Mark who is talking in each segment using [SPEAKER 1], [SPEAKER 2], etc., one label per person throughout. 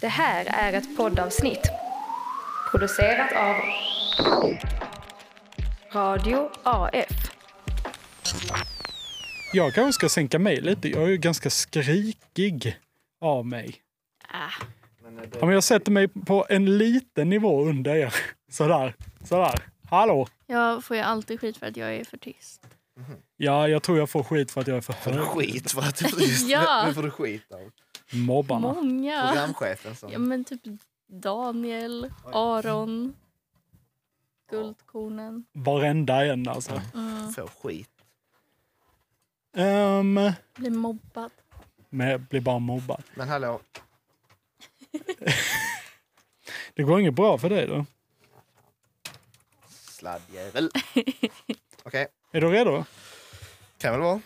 [SPEAKER 1] Det här är ett poddavsnitt producerat av Radio AF.
[SPEAKER 2] Jag kanske ska sänka mig lite. Jag är ju ganska skrikig av mig.
[SPEAKER 1] Ah,
[SPEAKER 2] Om jag sätter mig på en liten nivå under er. Sådär. Sådär. Hallå!
[SPEAKER 3] Jag får ju alltid skit för att jag är för tyst.
[SPEAKER 2] Ja, jag tror jag får skit för att jag är för
[SPEAKER 4] Får du
[SPEAKER 2] hög.
[SPEAKER 4] skit för att du just
[SPEAKER 3] Ja.
[SPEAKER 4] Nu får du skit av
[SPEAKER 2] Mobbarna.
[SPEAKER 3] Många.
[SPEAKER 4] programchefen. Som,
[SPEAKER 3] Ja, men typ Daniel, Aron, Guldkornen.
[SPEAKER 2] Varenda en alltså.
[SPEAKER 3] Mm.
[SPEAKER 4] Får skit.
[SPEAKER 2] Um,
[SPEAKER 3] Blir mobbad.
[SPEAKER 2] men jag blir bara mobbad.
[SPEAKER 4] Men hallå,
[SPEAKER 2] Det går inget bra för dig då?
[SPEAKER 4] sladdjävel. Okej,
[SPEAKER 2] Är du redo?
[SPEAKER 4] kan väl vara.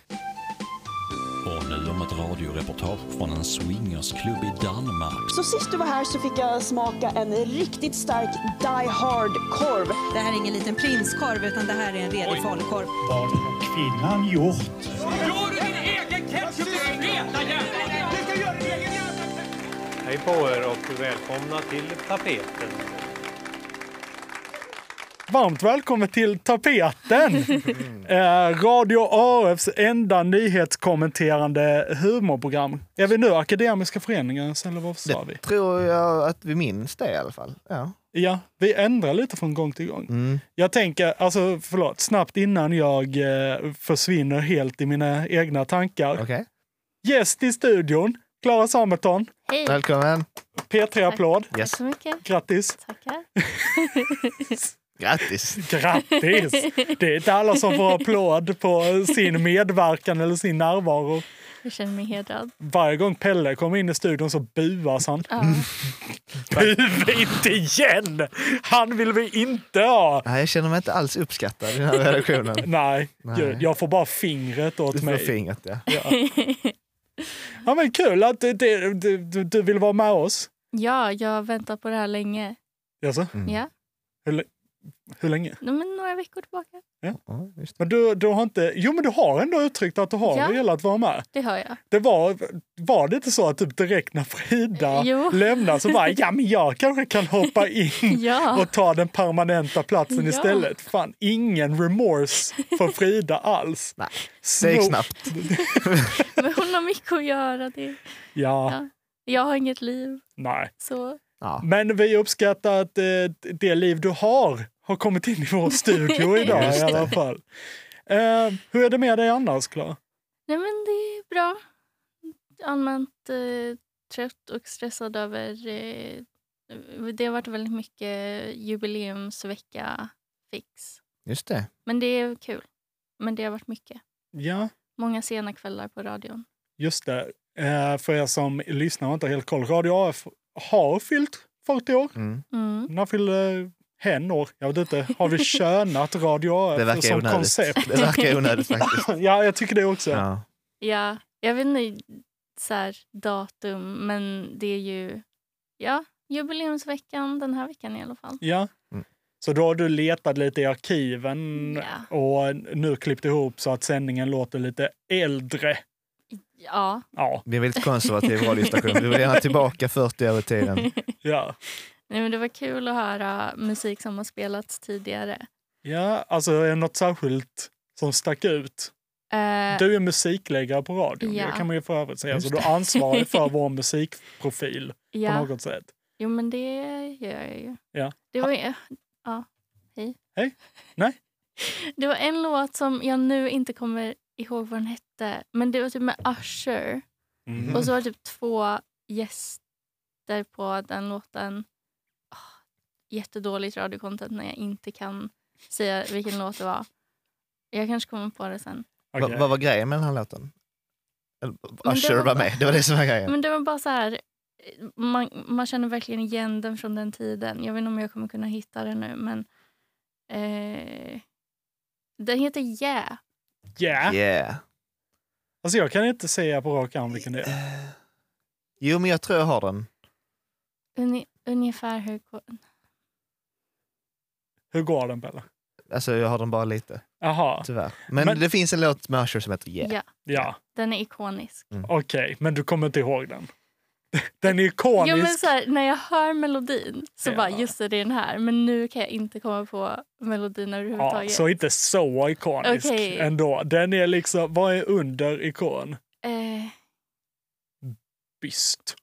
[SPEAKER 5] Och nu om ett radioreportage från en swingersklubb i Danmark.
[SPEAKER 6] Så sist du var här så fick jag smaka en riktigt stark Die Hard-korv.
[SPEAKER 7] Det här är ingen liten prinskorv utan det här är en redig falukorv.
[SPEAKER 8] kvinnan gjort?
[SPEAKER 9] Hej på er och välkomna till tapeten.
[SPEAKER 2] Varmt välkommen till Tapeten! Eh, Radio AFs enda nyhetskommenterande humorprogram. Är vi nu Akademiska Föreningens eller vad sa vi?
[SPEAKER 4] Det tror jag att vi minns det i alla fall. Ja.
[SPEAKER 2] Ja, vi ändrar lite från gång till gång.
[SPEAKER 4] Mm.
[SPEAKER 2] Jag tänker, alltså förlåt, snabbt innan jag eh, försvinner helt i mina egna tankar.
[SPEAKER 4] Okej,
[SPEAKER 2] Gäst i studion, Klara Samuelsson.
[SPEAKER 3] Hej!
[SPEAKER 4] välkommen.
[SPEAKER 2] P3-applåd.
[SPEAKER 4] Yes.
[SPEAKER 3] Tack så mycket.
[SPEAKER 2] Grattis!
[SPEAKER 3] Tackar.
[SPEAKER 4] Grattis.
[SPEAKER 2] Grattis! Det är inte alla som får applåd på sin medverkan eller sin närvaro.
[SPEAKER 3] Jag känner mig hedrad.
[SPEAKER 2] Varje gång Pelle kommer in i studion så buas han.
[SPEAKER 3] Ja.
[SPEAKER 2] Buva inte igen! Han vill vi inte ha!
[SPEAKER 4] Nej, jag känner mig inte alls uppskattad i den här redaktionen.
[SPEAKER 2] Nej,
[SPEAKER 4] Nej.
[SPEAKER 2] Gud, jag får bara fingret
[SPEAKER 4] Du
[SPEAKER 2] åt
[SPEAKER 4] får
[SPEAKER 2] mig.
[SPEAKER 4] fingret, ja.
[SPEAKER 2] Ja, men kul att det, det, du, du- du vill vara med oss.
[SPEAKER 3] ja, jag har väntat på det här länge.
[SPEAKER 2] Jaså?
[SPEAKER 4] Mm.
[SPEAKER 3] Ja,
[SPEAKER 2] Hur länge?
[SPEAKER 3] Nej, men några veckor tillbaka.
[SPEAKER 4] Ja, just.
[SPEAKER 2] Men du, du har inte... Jo, men du har ändå uttryckt att du har
[SPEAKER 3] Ja.
[SPEAKER 2] velat vara med.
[SPEAKER 3] Det hör jag.
[SPEAKER 2] Det var, var det inte så att typ direkt när Frida
[SPEAKER 3] Jo.
[SPEAKER 2] lämnar så bara ja, men jag kanske kan hoppa in
[SPEAKER 3] Ja,
[SPEAKER 4] Ah.
[SPEAKER 2] och ta den permanenta platsen
[SPEAKER 3] Ja.
[SPEAKER 2] istället. Fan, ingen remorse för Frida alls.
[SPEAKER 4] Nej, Det gick
[SPEAKER 2] Snor-
[SPEAKER 4] snabbt.
[SPEAKER 3] men hon har mycket att göra. Det.
[SPEAKER 2] Ja,
[SPEAKER 3] Ja. Jag har inget liv.
[SPEAKER 2] nej.
[SPEAKER 3] Så
[SPEAKER 4] Ja.
[SPEAKER 2] Men vi uppskattar att eh, det liv du har har kommit in i vår studio idag i
[SPEAKER 4] Just det.
[SPEAKER 2] alla fall. Eh, hur är det med dig annars, Klara?
[SPEAKER 3] Nej, men det är bra. Allmänt eh, trött och stressad över... Eh, det har varit väldigt mycket jubileumsvecka-fix.
[SPEAKER 4] Just det.
[SPEAKER 3] Men det är kul. Men det har varit mycket.
[SPEAKER 2] Ja,
[SPEAKER 3] Många sena kvällar på radion.
[SPEAKER 2] Just det. Eh, för er som lyssnar och inte har helt koll. Radio AF har fyllt 40 år.
[SPEAKER 4] Mm.
[SPEAKER 3] Mm.
[SPEAKER 2] När fyllde eh, hen år? Jag vet inte. Har vi könat Radio AF
[SPEAKER 4] Det verkar
[SPEAKER 2] som
[SPEAKER 4] onödigt.
[SPEAKER 2] koncept?
[SPEAKER 4] Det verkar onödigt faktiskt.
[SPEAKER 2] Ja, jag tycker det också.
[SPEAKER 4] Ja.
[SPEAKER 3] Ja, jag vet inte så här, datum, men det är ju ja, jubileumsveckan den här veckan i alla fall.
[SPEAKER 2] Ja.
[SPEAKER 4] Mm.
[SPEAKER 2] Så då har du letat lite i arkiven
[SPEAKER 3] Ja.
[SPEAKER 2] och nu klippt ihop så att sändningen låter lite äldre.
[SPEAKER 3] Ja,
[SPEAKER 2] Ja,
[SPEAKER 4] Vi är en väldigt konservativ radiostation. Vi vill gärna tillbaka 40 år i tiden.
[SPEAKER 2] ja.
[SPEAKER 3] Nej, men det var kul att höra musik som har spelats tidigare.
[SPEAKER 2] Ja, alltså är det något särskilt som stack ut?
[SPEAKER 3] Eh,
[SPEAKER 2] Du är musikläggare på radion,
[SPEAKER 3] Ja.
[SPEAKER 2] det kan man ju för övrigt säga. Så
[SPEAKER 4] Just
[SPEAKER 2] du är ansvarig för vår musikprofil på
[SPEAKER 3] ja.
[SPEAKER 2] något sätt.
[SPEAKER 3] Jo, men det gör jag ju.
[SPEAKER 2] Ja.
[SPEAKER 3] Det var, ju- eh, ja. Hej.
[SPEAKER 2] Hej. Nej.
[SPEAKER 3] Det var en låt som jag nu inte kommer ihåg vad den hette. Men det var typ med Usher.
[SPEAKER 2] Mm.
[SPEAKER 3] Och så var det typ två gäster på den låten. Ah, jättedåligt radiocontent när jag inte kan säga vilken låt det var. Jag kanske kommer på det sen.
[SPEAKER 4] Va-
[SPEAKER 2] Okej.
[SPEAKER 4] Vad var grejen med den här låten? Eller,
[SPEAKER 3] det
[SPEAKER 4] Usher
[SPEAKER 3] var- Mm.
[SPEAKER 4] var med, det var det som var grejen.
[SPEAKER 3] Men det var bara så här. Man, man känner verkligen igen den från den tiden. Jag vet inte om jag kommer kunna hitta den nu, men... Eh, den heter Yeah.
[SPEAKER 2] Yeah.
[SPEAKER 4] Yeah.
[SPEAKER 2] Alltså jag kan inte säga på rak arm vilken det är.
[SPEAKER 4] Eh, Jo, men jag tror jag har den.
[SPEAKER 3] Uni, ungefär hur... ko-
[SPEAKER 2] Hur går den Pelle?
[SPEAKER 4] Alltså, jag har den bara lite,
[SPEAKER 2] Jaha,
[SPEAKER 4] tyvärr. Men,
[SPEAKER 2] Men-
[SPEAKER 4] det finns en låt med Usher som heter Yeah.
[SPEAKER 3] Ja,
[SPEAKER 2] ja.
[SPEAKER 3] den är ikonisk.
[SPEAKER 2] Okej, men du kommer inte ihåg den? Den är ikonisk.
[SPEAKER 3] Jo, men så här, när jag hör melodin så bara just det, det är den här. Men nu kan jag inte komma på melodin
[SPEAKER 2] ja,
[SPEAKER 3] överhuvudtaget.
[SPEAKER 2] så inte så ikonisk
[SPEAKER 3] Okej.
[SPEAKER 2] ändå. Den är liksom, vad är under ikon?
[SPEAKER 3] eh,
[SPEAKER 2] Byst.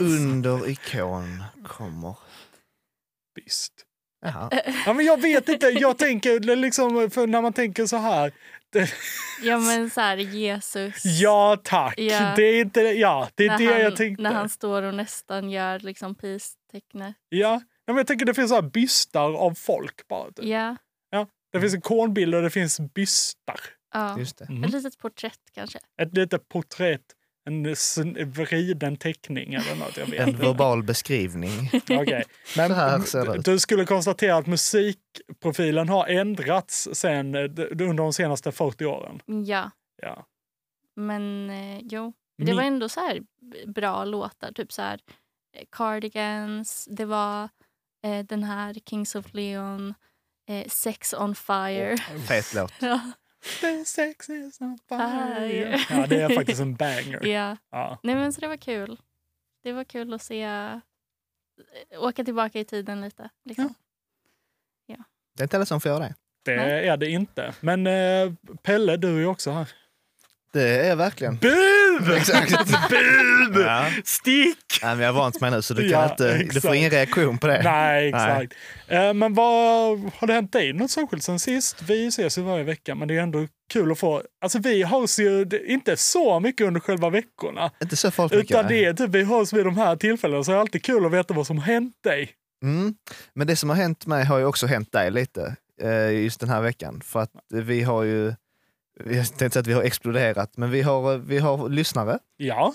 [SPEAKER 4] Under ikon kommer...
[SPEAKER 2] Byst.
[SPEAKER 4] Jaha.
[SPEAKER 2] Ja, men jag vet inte, jag tänker det är liksom, för när man tänker så här. Det,
[SPEAKER 3] ja men så här Jesus.
[SPEAKER 2] ja tack,
[SPEAKER 3] Ja.
[SPEAKER 2] det är inte, ja det är
[SPEAKER 3] när
[SPEAKER 2] det
[SPEAKER 3] han,
[SPEAKER 2] jag tänkte.
[SPEAKER 3] När han står och nästan gör liksom peace-tecknet.
[SPEAKER 2] Ja. ja, men jag tänker det finns så här bystar av folk bara. Typ.
[SPEAKER 3] Ja.
[SPEAKER 2] Det finns ikonbilder och det finns bystar.
[SPEAKER 3] ja.
[SPEAKER 4] Just det.
[SPEAKER 2] Mm.
[SPEAKER 3] Ett litet porträtt kanske.
[SPEAKER 2] Ett litet porträtt, en sn- vriden teckning eller något. Jag vet
[SPEAKER 4] En
[SPEAKER 2] inte.
[SPEAKER 4] verbal beskrivning.
[SPEAKER 2] Okej. Men
[SPEAKER 4] Så här ser det ut.
[SPEAKER 2] du skulle konstatera att musikprofilen har ändrats sen, eh, d- under de senaste 40 åren.
[SPEAKER 3] Ja.
[SPEAKER 2] Ja.
[SPEAKER 3] Men eh, jo. Det var ändå så här b- bra låtar. Typ så här eh, Cardigans. Det var eh, den här Kings of Leon. Eh, Sex on fire.
[SPEAKER 4] Fet låt.
[SPEAKER 3] Ja.
[SPEAKER 2] The sex is on fire.
[SPEAKER 3] Fire.
[SPEAKER 2] Ja, det är faktiskt en banger.
[SPEAKER 3] ja.
[SPEAKER 2] Ja.
[SPEAKER 3] Nej men så det var kul. Det var kul att se eh, åka tillbaka i tiden lite. Liksom.
[SPEAKER 4] Det är inte alla som får göra det.
[SPEAKER 2] Det
[SPEAKER 3] Nej.
[SPEAKER 2] är det inte. Men eh, Pelle, du är ju också här.
[SPEAKER 4] Det är verkligen.
[SPEAKER 2] Bu!
[SPEAKER 4] Exakt.
[SPEAKER 2] Bu!
[SPEAKER 4] Ja.
[SPEAKER 2] Stick!
[SPEAKER 4] Nej, men jag har vant mig nu så du, kan
[SPEAKER 2] Ja,
[SPEAKER 4] inte, du får
[SPEAKER 2] exakt.
[SPEAKER 4] ingen reaktion på det.
[SPEAKER 2] Nej, exakt. Eh, men vad har det hänt dig något särskilt sen sist? Vi ses ju varje vecka, men det är ändå kul att få... Alltså vi hörs ju det- inte så mycket under själva veckorna.
[SPEAKER 4] Inte så farligt mycket.
[SPEAKER 2] Utan
[SPEAKER 4] nej.
[SPEAKER 2] det är typ, vi hörs vid de här tillfällena, så det är alltid kul att veta vad som har hänt dig.
[SPEAKER 4] Mm. Men det som har hänt mig har ju också hänt dig lite eh, just den här veckan. För att vi har ju, jag tänkte säga att vi har exploderat, men vi har, vi har lyssnare
[SPEAKER 2] Ja,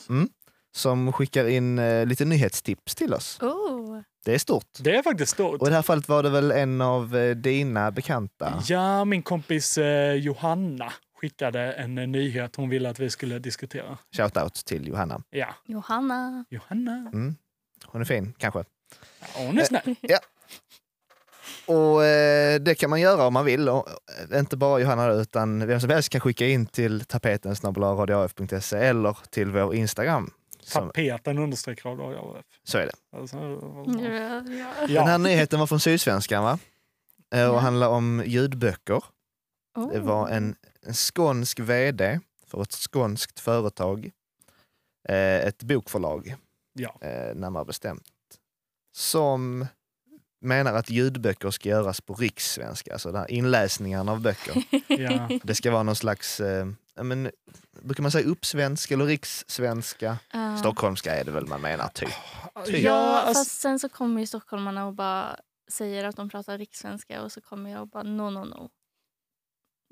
[SPEAKER 4] som skickar in eh, lite nyhetstips till oss.
[SPEAKER 3] Oh.
[SPEAKER 4] Det är stort.
[SPEAKER 2] det är faktiskt stort.
[SPEAKER 4] Och i det här fallet var det väl en av eh, dina bekanta?
[SPEAKER 2] Ja, min kompis eh, Johanna skickade en eh, nyhet hon ville att vi skulle diskutera.
[SPEAKER 4] Shoutout till Johanna. Mm.
[SPEAKER 2] Ja,
[SPEAKER 3] Johanna.
[SPEAKER 2] Johanna.
[SPEAKER 4] Hon är fin, kanske.
[SPEAKER 2] Ja, Hon är
[SPEAKER 4] Eh,
[SPEAKER 2] snäll.
[SPEAKER 4] Och eh, det kan man göra om man vill. Och, eh, inte bara Johanna utan vem som helst kan skicka in till tapeten radioaf.se E eller till vår Instagram. Som,
[SPEAKER 2] Tapeten understreck av AF.
[SPEAKER 4] så är det.
[SPEAKER 2] Alltså,
[SPEAKER 3] Ja, ja.
[SPEAKER 4] Den här
[SPEAKER 2] ja,
[SPEAKER 4] nyheten var från Sydsvenskan va? Eh, Och
[SPEAKER 3] Ja.
[SPEAKER 4] handlar om ljudböcker.
[SPEAKER 3] Oh.
[SPEAKER 4] Det var en, en skånsk vd för ett skånskt företag. Eh, Ett bokförlag
[SPEAKER 2] ja.
[SPEAKER 4] eh, närmare bestämt. Som menar att ljudböcker ska göras på rikssvenska, alltså den här inläsningen av böcker.
[SPEAKER 2] ja. Typ.
[SPEAKER 4] Det ska vara någon slags, eh, ja, men, brukar man säga uppsvenska eller rikssvenska?
[SPEAKER 3] Ja.
[SPEAKER 4] Stockholmska är det väl man menar typ.
[SPEAKER 3] Ja,
[SPEAKER 2] alltså-
[SPEAKER 3] fast sen så kommer ju stockholmarna och bara säger att de pratar rikssvenska och så kommer jag och bara no, no, no.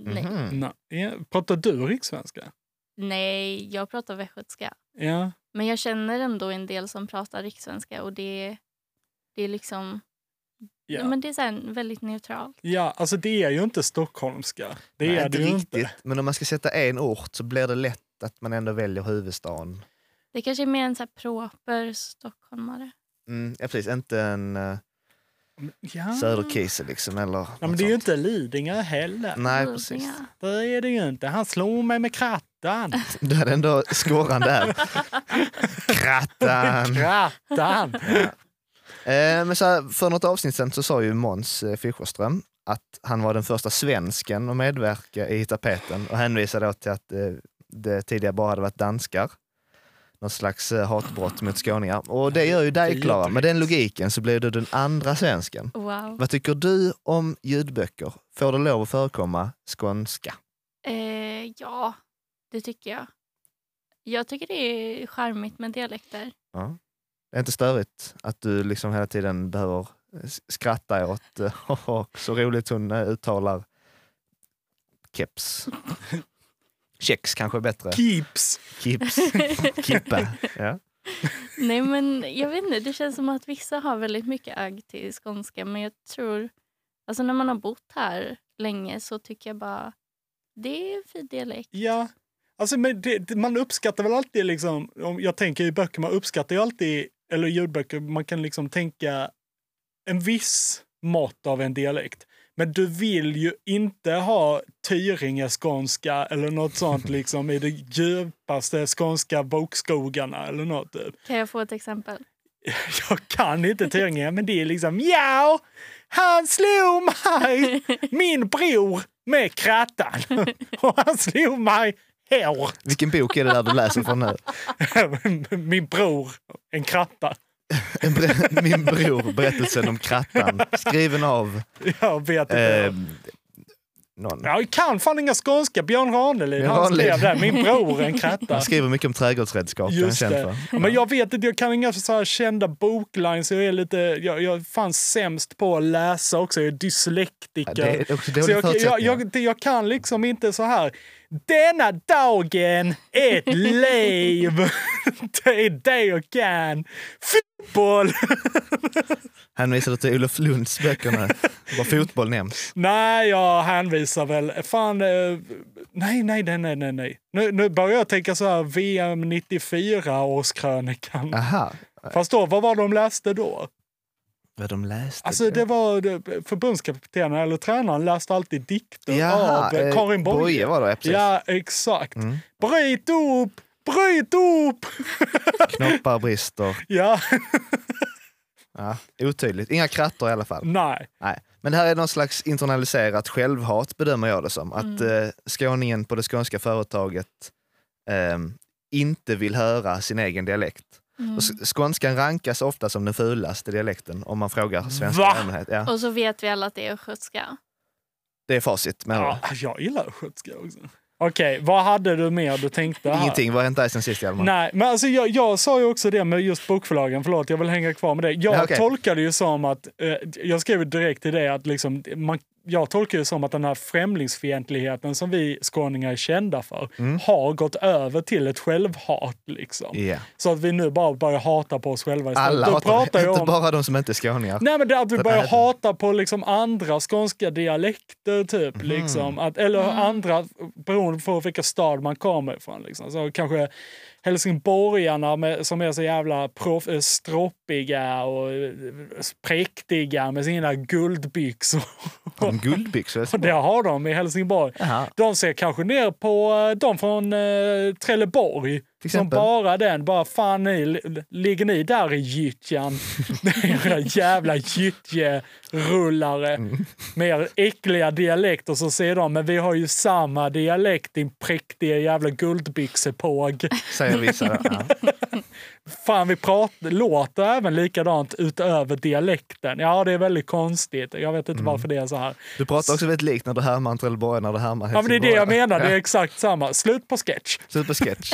[SPEAKER 3] Nej,
[SPEAKER 4] Mhm.
[SPEAKER 2] Nej. alltså, Ja, Pratar du rikssvenska?
[SPEAKER 3] Nej jag pratar västgötska.
[SPEAKER 2] Ja.
[SPEAKER 3] Men jag känner ändå en del som pratar rikssvenska och det, det är liksom
[SPEAKER 2] Ja.
[SPEAKER 3] men det är så här väldigt neutralt.
[SPEAKER 2] ja, alltså det är ju inte stockholmska. Det
[SPEAKER 4] Nej,
[SPEAKER 2] är
[SPEAKER 4] inte
[SPEAKER 2] det ju
[SPEAKER 4] riktigt,
[SPEAKER 2] inte.
[SPEAKER 4] men om man ska sätta en ort så blir det lätt att man ändå väljer huvudstaden.
[SPEAKER 3] Det kanske är mer en så här proper stockholmare.
[SPEAKER 4] Mm, ja, precis, inte en eh,
[SPEAKER 2] Ja.
[SPEAKER 4] Söderkise liksom. Eller
[SPEAKER 2] Ja, men
[SPEAKER 4] något
[SPEAKER 2] det är ju
[SPEAKER 4] sånt.
[SPEAKER 2] inte Lidingö heller.
[SPEAKER 4] Nej,
[SPEAKER 3] Lidingö.
[SPEAKER 4] precis.
[SPEAKER 2] Det är det ju inte. Han slog mig med krattan.
[SPEAKER 4] Du hade ändå skåran där. Krattan!
[SPEAKER 2] Krattan!
[SPEAKER 4] Eh, men så här, för något avsnitt sen så sa ju Måns eh, Fischerström att han var den första svensken att medverka i tapeten och hänvisade då till att eh, det tidigare bara hade varit danskar. Någon slags eh, hatbrott mot skåningar. Och det gör ju dig Klara, med den logiken så blir du den andra svensken.
[SPEAKER 3] Wow.
[SPEAKER 4] Vad tycker du om ljudböcker? Får det lov att förekomma skånska?
[SPEAKER 3] Eh, ja, det tycker jag. Jag tycker det är charmigt med dialekter.
[SPEAKER 4] Det är inte störigt att du liksom hela tiden behöver eh, s- skratta åt eh, så roligt hon eh, uttalar keps. Kex kanske är bättre.
[SPEAKER 2] Keeps!
[SPEAKER 4] Kips. Kippa. Ja.
[SPEAKER 3] Nej men jag vet inte, det känns som att vissa har väldigt mycket agg till skånska men jag tror, alltså när man har bott här länge så tycker jag bara det är en fin dialekt.
[SPEAKER 2] Ja. Alltså, men det, det- man uppskattar väl alltid, liksom, om jag tänker i böcker, man uppskattar ju alltid, eller ljudböcker, man kan liksom tänka en viss mått av en dialekt. Men du vill ju inte ha Tyringe-skånska eller något sånt liksom i de djupaste skånska bokskogarna eller något. Typ.
[SPEAKER 3] Kan jag få ett exempel?
[SPEAKER 2] Jag kan inte Tyringe, men det är liksom ja, han slog mig, min bror, med krattan. Och han slog mig hår.
[SPEAKER 4] Vilken bok är det där du läser från nu?
[SPEAKER 2] Min bror, en kratta.
[SPEAKER 4] En bre- Min bror, berättelsen om krattan. Skriven av
[SPEAKER 2] Jag vet inte.
[SPEAKER 4] eh, någon.
[SPEAKER 2] Jag kan fan inga skånska. Björn Ranelid,
[SPEAKER 4] Björn
[SPEAKER 2] han skrev det.
[SPEAKER 4] Ranelid.
[SPEAKER 2] Min bror, en kratta.
[SPEAKER 4] Han skriver mycket om trädgårdsredskap. är han
[SPEAKER 2] Just
[SPEAKER 4] känd
[SPEAKER 2] det.
[SPEAKER 4] för.
[SPEAKER 2] Men jag vet inte, jag kan inga så här kända boklines. Jag är lite, jag, jag fanns sämst på att läsa också. Jag är dyslektiker.
[SPEAKER 4] Ja, det är också dåliga
[SPEAKER 2] så jag, jag,
[SPEAKER 4] förutsättningar.
[SPEAKER 2] jag, det- jag kan liksom inte så här. Denna dagen, ett liv. det är det jag kan. Fotboll.
[SPEAKER 4] Hänvisade till Olof Lunds böckerna. Bara fotboll nämns.
[SPEAKER 2] Nej, jag hänvisar väl. Fan, eh, nej, nej, nej, nej, nej, nej. Nu, nu börjar jag tänka så här VM 94 årskrönikan.
[SPEAKER 4] Aha,
[SPEAKER 2] Fast då, vad var de läste då?
[SPEAKER 4] vad de läste.
[SPEAKER 2] Alltså det var det- förbundskaptenen eller tränaren läste alltid dikter
[SPEAKER 4] Jaha,
[SPEAKER 2] av eh,
[SPEAKER 4] eh,
[SPEAKER 2] Karin Boye.
[SPEAKER 4] Boye var det, ja, precis. Mm.
[SPEAKER 2] ja, exakt. Bryt upp! Bryt upp!
[SPEAKER 4] Knoppar brister.
[SPEAKER 2] Ja,
[SPEAKER 4] Ja, otydligt. Inga krattor i alla fall.
[SPEAKER 2] nej.
[SPEAKER 4] Nej. Men det här är någon slags internaliserat självhat bedömer jag det som. Att eh, skåningen på det skånska företaget ehm, inte vill höra sin egen dialekt. Och sk- skånskan rankas ofta som den fulaste dialekten om man frågar svenskar i
[SPEAKER 2] Va?
[SPEAKER 4] allmänhet. Ja,
[SPEAKER 3] Och så vet vi alla att det är östgötska.
[SPEAKER 4] det är facit. Men
[SPEAKER 2] Ja, jag gillar skötska också. Okej, vad hade du mer du tänkte? här?
[SPEAKER 4] Ingenting. Vad har hänt dig sen sist Hjalmar?
[SPEAKER 2] Nej, men alltså jag, jag sa ju också det med just bokförlagen, förlåt jag vill hänga kvar med det. Jag
[SPEAKER 4] Ja, okej.
[SPEAKER 2] tolkade ju som att, eh, jag skrev ju direkt till det att liksom, man, jag tolkar ju som att den här främlingsfientligheten som vi skåningar är kända för har gått över till ett självhat liksom.
[SPEAKER 4] Mm. Ja.
[SPEAKER 2] Så att vi nu bara börjar hata på oss själva istället.
[SPEAKER 4] Alla
[SPEAKER 2] Då
[SPEAKER 4] hatar
[SPEAKER 2] pratar
[SPEAKER 4] det.
[SPEAKER 2] jag
[SPEAKER 4] Inte
[SPEAKER 2] om-
[SPEAKER 4] bara de som inte är skåningar.
[SPEAKER 2] Nej men det är att vi
[SPEAKER 4] Så
[SPEAKER 2] börjar
[SPEAKER 4] är det.
[SPEAKER 2] hata på liksom andra skånska dialekter typ.
[SPEAKER 4] Mm.
[SPEAKER 2] Liksom. Att, eller andra beroende på vilken stad man kommer ifrån. Liksom. Så kanske helsingborgarna med, som är så jävla proff, eh, stroppiga och eh, präktiga med sina guldbyxor.
[SPEAKER 4] Har de guldbyxor?
[SPEAKER 2] Och det har de i Helsingborg.
[SPEAKER 4] Jaha.
[SPEAKER 2] De ser kanske ner på eh, de från eh, Trelleborg. Som
[SPEAKER 4] exempel?
[SPEAKER 2] bara den, bara fan ni, l- ligger ni där i gyttjan? Era jävla gyttjerullare
[SPEAKER 4] Mm.
[SPEAKER 2] med er äckliga dialekt. Och så säger de, men vi har ju samma dialekt din präktiga jävla guldbyxepåg.
[SPEAKER 4] Säger vissa. Ja.
[SPEAKER 2] Fan vi pratar, låter även likadant utöver dialekten. Ja det är väldigt konstigt, jag vet inte
[SPEAKER 4] Mm.
[SPEAKER 2] varför det är så här.
[SPEAKER 4] Du pratar också väldigt likt när du härmar en trelleborgare när du härmar
[SPEAKER 2] Ja, men det är det jag
[SPEAKER 4] helsingborgare.
[SPEAKER 2] menar. Det är
[SPEAKER 4] Ja.
[SPEAKER 2] exakt samma. Slut på sketch.
[SPEAKER 4] Supersketch.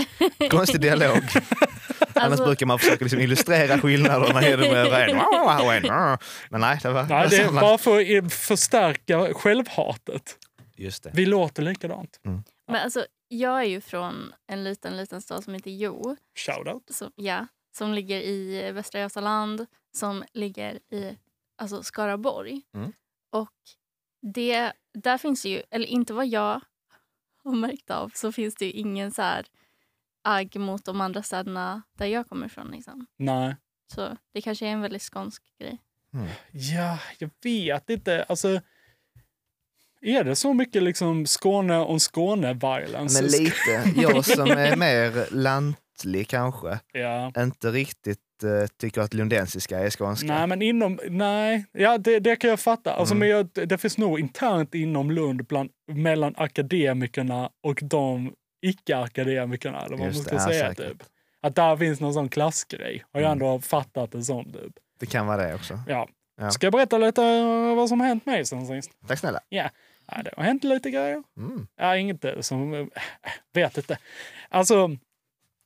[SPEAKER 4] Konstig dialog. Annars
[SPEAKER 3] Alltså-
[SPEAKER 4] brukar man försöka liksom illustrera skillnaderna genom att göra en wow, wow, en. Men nej, det var
[SPEAKER 2] Nej, det är
[SPEAKER 4] samma.
[SPEAKER 2] bara för att förstärka självhatet.
[SPEAKER 4] Just det.
[SPEAKER 2] Vi låter likadant.
[SPEAKER 3] Men alltså, jag är ju från en liten, liten stad som heter Jo.
[SPEAKER 2] Shoutout.
[SPEAKER 3] Som, ja, som ligger i Västra Götaland, som ligger i alltså Skaraborg.
[SPEAKER 4] Mm.
[SPEAKER 3] Och det, där finns ju, eller inte vad jag har märkt av, så finns det ju ingen så här agg mot de andra städerna där jag kommer ifrån. Liksom.
[SPEAKER 2] Nej.
[SPEAKER 3] Så det kanske är en väldigt skånsk grej.
[SPEAKER 2] Ja, jag vet inte. Alltså, är det så mycket liksom Skåne on Skåne violence?
[SPEAKER 4] Men lite. Jag som är mer lantlig kanske
[SPEAKER 2] ja.
[SPEAKER 4] inte riktigt eh, tycker att lundensiska är skånska.
[SPEAKER 2] Nej, men inom... Nej, ja, det, det kan jag fatta. Alltså,
[SPEAKER 4] Mm.
[SPEAKER 2] men jag, det finns nog internt inom Lund bland, mellan akademikerna och de icke-akademikerna, eller vad man
[SPEAKER 4] Just
[SPEAKER 2] ska
[SPEAKER 4] det, ja,
[SPEAKER 2] säga.
[SPEAKER 4] säkert. Mm.
[SPEAKER 2] typ. Att där finns någon sån klassgrej, har jag ändå fattat det som. Typ.
[SPEAKER 4] Det kan vara det också.
[SPEAKER 2] Ja.
[SPEAKER 4] Ja.
[SPEAKER 2] Ska jag berätta lite eh, vad som har hänt mig sen sist?
[SPEAKER 4] Tack snälla.
[SPEAKER 2] Ja, ja det har hänt lite grejer.
[SPEAKER 4] Mm.
[SPEAKER 2] Ja, inget eh, som... eh, Vet inte. Alltså,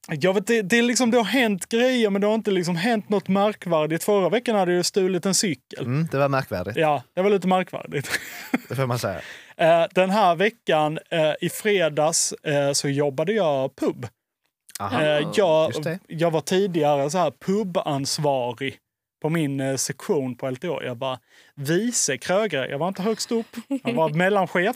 [SPEAKER 2] jag vet, det, det, är liksom, det har hänt grejer, men det har inte liksom hänt något märkvärdigt. Förra veckan hade jag stulit en cykel.
[SPEAKER 4] Mm, det var märkvärdigt,
[SPEAKER 2] Ja, det var lite märkvärdigt.
[SPEAKER 4] det får man säga.
[SPEAKER 2] Eh, Den här veckan, eh, i fredags, eh, så jobbade jag pub.
[SPEAKER 4] Aha.
[SPEAKER 2] Eh, Jag,
[SPEAKER 4] Just det.
[SPEAKER 2] jag var tidigare så här pubansvarig på min eh, sektion på LTH. Jag var vice krögare. Jag var inte högst upp. Jag var mellanchef.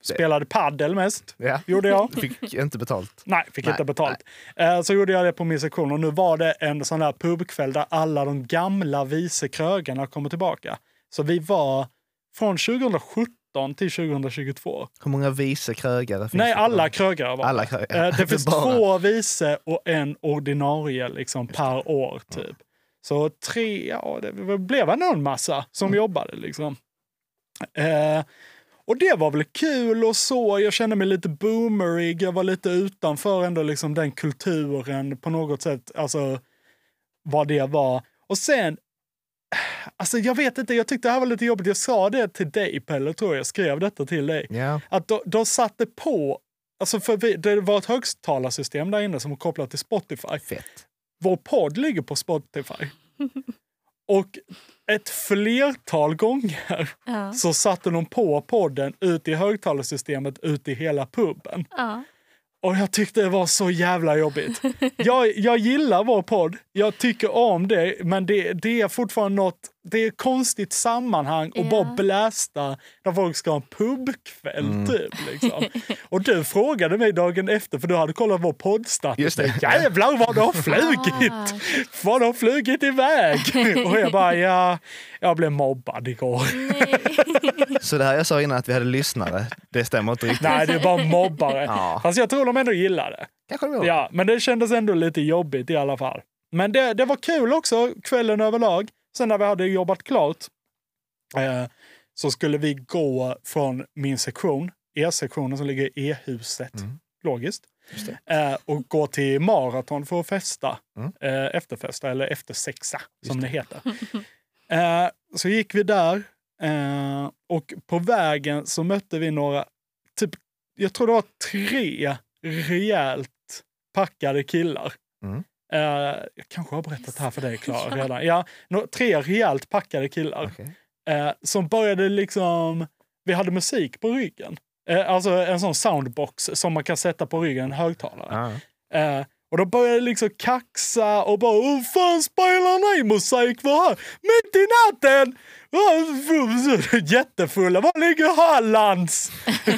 [SPEAKER 2] Spelade paddel mest.
[SPEAKER 4] Ja.
[SPEAKER 2] Gjorde jag.
[SPEAKER 4] Fick inte betalt.
[SPEAKER 2] Nej, fick
[SPEAKER 4] Nej,
[SPEAKER 2] inte betalt. Eh, Så gjorde jag det på min sektion och nu var det en sån där pubkväll där alla de gamla vice krögarna kommer tillbaka. Så vi var från 2017 till 2022.
[SPEAKER 4] Hur många vice krögare finns
[SPEAKER 2] Nej,
[SPEAKER 4] det?
[SPEAKER 2] alla krögare var
[SPEAKER 4] Alla krögare.
[SPEAKER 2] Eh, Det finns
[SPEAKER 4] Bara-
[SPEAKER 2] två vice och en ordinarie liksom, per år. typ. Så tre, ja, det blev ändå en massa som
[SPEAKER 4] Mm.
[SPEAKER 2] jobbade. liksom. Eh, och det var väl kul och så. Jag kände mig lite boomerig. Jag var lite utanför ändå liksom den kulturen på något sätt. Alltså vad det var. Och sen, alltså jag vet inte, jag tyckte det här var lite jobbigt. Jag sa det till dig Pelle, tror jag. Jag skrev detta till dig
[SPEAKER 4] Ja.
[SPEAKER 2] att de, de satte på, alltså för vi, det var ett högtalarsystem där inne som var kopplat till Spotify.
[SPEAKER 4] Fett.
[SPEAKER 2] Vår podd ligger på Spotify. Och ett flertal gånger
[SPEAKER 3] Ja.
[SPEAKER 2] så satte de på podden ut i högtalarsystemet ut i hela puben.
[SPEAKER 3] Ja.
[SPEAKER 2] Och jag tyckte det var så jävla jobbigt. Jag, jag gillar vår podd, jag tycker om det, men det, det är fortfarande något, det är ett konstigt sammanhang och
[SPEAKER 3] Ja.
[SPEAKER 2] bara blästa när folk ska ha en pubkväll
[SPEAKER 4] Mm.
[SPEAKER 2] typ. Liksom. Och du frågade mig dagen efter, för du hade kollat vår
[SPEAKER 4] Just det.
[SPEAKER 2] poddstatistik. Jävlar vad det har flugit! Vad det har flugit iväg! Och jag bara, ja, jag blev mobbad igår.
[SPEAKER 4] Så det här jag sa innan att vi hade lyssnare, det stämmer inte riktigt.
[SPEAKER 2] Nej, det var mobbare.
[SPEAKER 4] Ja.
[SPEAKER 2] Fast jag tror de ändå gillar det.
[SPEAKER 4] Kanske det var.
[SPEAKER 2] Ja, men det kändes ändå lite jobbigt i alla fall. Men det, det var kul också, kvällen överlag. Sen när vi hade jobbat klart eh, så skulle vi gå från min sektion, E-sektionen som ligger i E-huset, logiskt, eh, och gå till maraton för att festa. Eh, efterfesta, eller eftersexa som det heter. Eh, så gick vi där eh, och på vägen så mötte vi några, typ, jag tror det var tre rejält packade killar.
[SPEAKER 4] Mm.
[SPEAKER 2] Eh, jag kanske har berättat det här för dig Klara redan. Ja, nå- tre rejält packade killar
[SPEAKER 4] Okej.
[SPEAKER 2] eh, som började liksom, vi hade musik på ryggen. Eh, alltså en sån soundbox som man kan sätta på ryggen, en högtalare.
[SPEAKER 4] Ja.
[SPEAKER 2] Eh, och de började liksom kaxa och bara Åh fan spelar ni musik? Vad här? Mitt i natten! Ah, Jättefulla. Var ligger Hallands?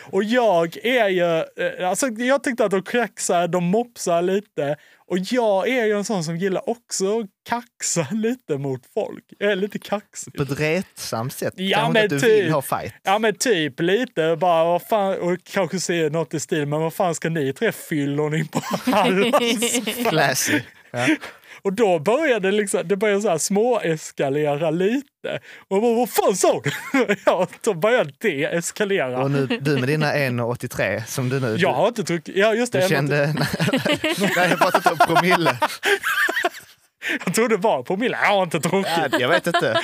[SPEAKER 2] och jag är ju... eh, Alltså jag tyckte att de kaxar, de mopsar lite. Och jag är ju en sån som gillar också att kaxa lite mot folk. Jag är lite kaxig.
[SPEAKER 4] På ett retsamt sätt.
[SPEAKER 2] Ja,
[SPEAKER 4] Kanske inte
[SPEAKER 2] men
[SPEAKER 4] att du
[SPEAKER 2] typ.
[SPEAKER 4] vill ha fight.
[SPEAKER 2] Ja men typ lite bara vad fan och kanske säger något i stil men vad fan ska ni tre fyllon in på Hallands?
[SPEAKER 4] Classy.
[SPEAKER 2] och då började liksom, det började så här små eskalera lite. Och bara, vad fan sa du? ja, då började det eskalera.
[SPEAKER 4] Och nu, du med dina 1,83 som du nu...
[SPEAKER 2] jag har inte druckit, ja just det,
[SPEAKER 4] Du
[SPEAKER 2] jag,
[SPEAKER 4] kände... Nej, jag har pratat om promille.
[SPEAKER 2] jag trodde det var promille, jag har inte druckit.
[SPEAKER 4] Ja, Jag vet inte.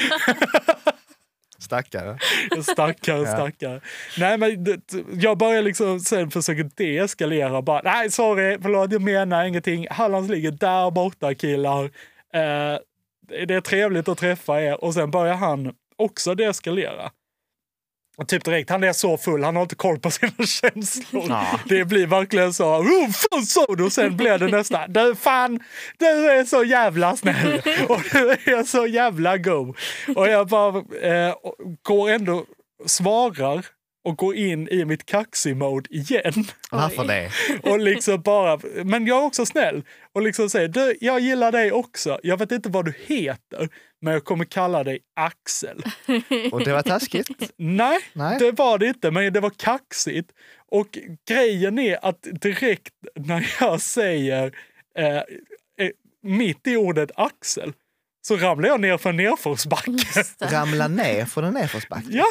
[SPEAKER 4] Stackare.
[SPEAKER 2] Stackare, stackare. Nej, men det, jag börjar liksom sen försöka deeskalera. Bara, nej, sorry, förlåt, jag menar ingenting. Hallands ligger där borta, killar. Eh, det det är trevligt att träffa er. Och sen börjar han också deeskalera. Och Typ direkt, han är så full, han har inte koll på sina känslor. Det blir verkligen så, oh, fan sa du? Och sen blir det nästa, du fan, du är så jävla snäll och du är så jävla go. Och jag bara eh, går ändå, svarar och går in i mitt kaxig-mode igen.
[SPEAKER 4] Varför det?
[SPEAKER 2] Och liksom bara, men jag är också snäll. Och liksom säger, du, jag gillar dig också. Jag vet inte vad du heter, men jag kommer kalla dig Axel.
[SPEAKER 4] Och det var taskigt.
[SPEAKER 2] Nej,
[SPEAKER 4] Nej.
[SPEAKER 2] det var det inte, men det var kaxigt. Och grejen är att direkt när jag säger eh, eh, mitt i ordet Axel så ramlar jag ner för en nedförsbacke.
[SPEAKER 3] Just det.
[SPEAKER 4] Ramla ner från en nedförsbacke.
[SPEAKER 2] Ja.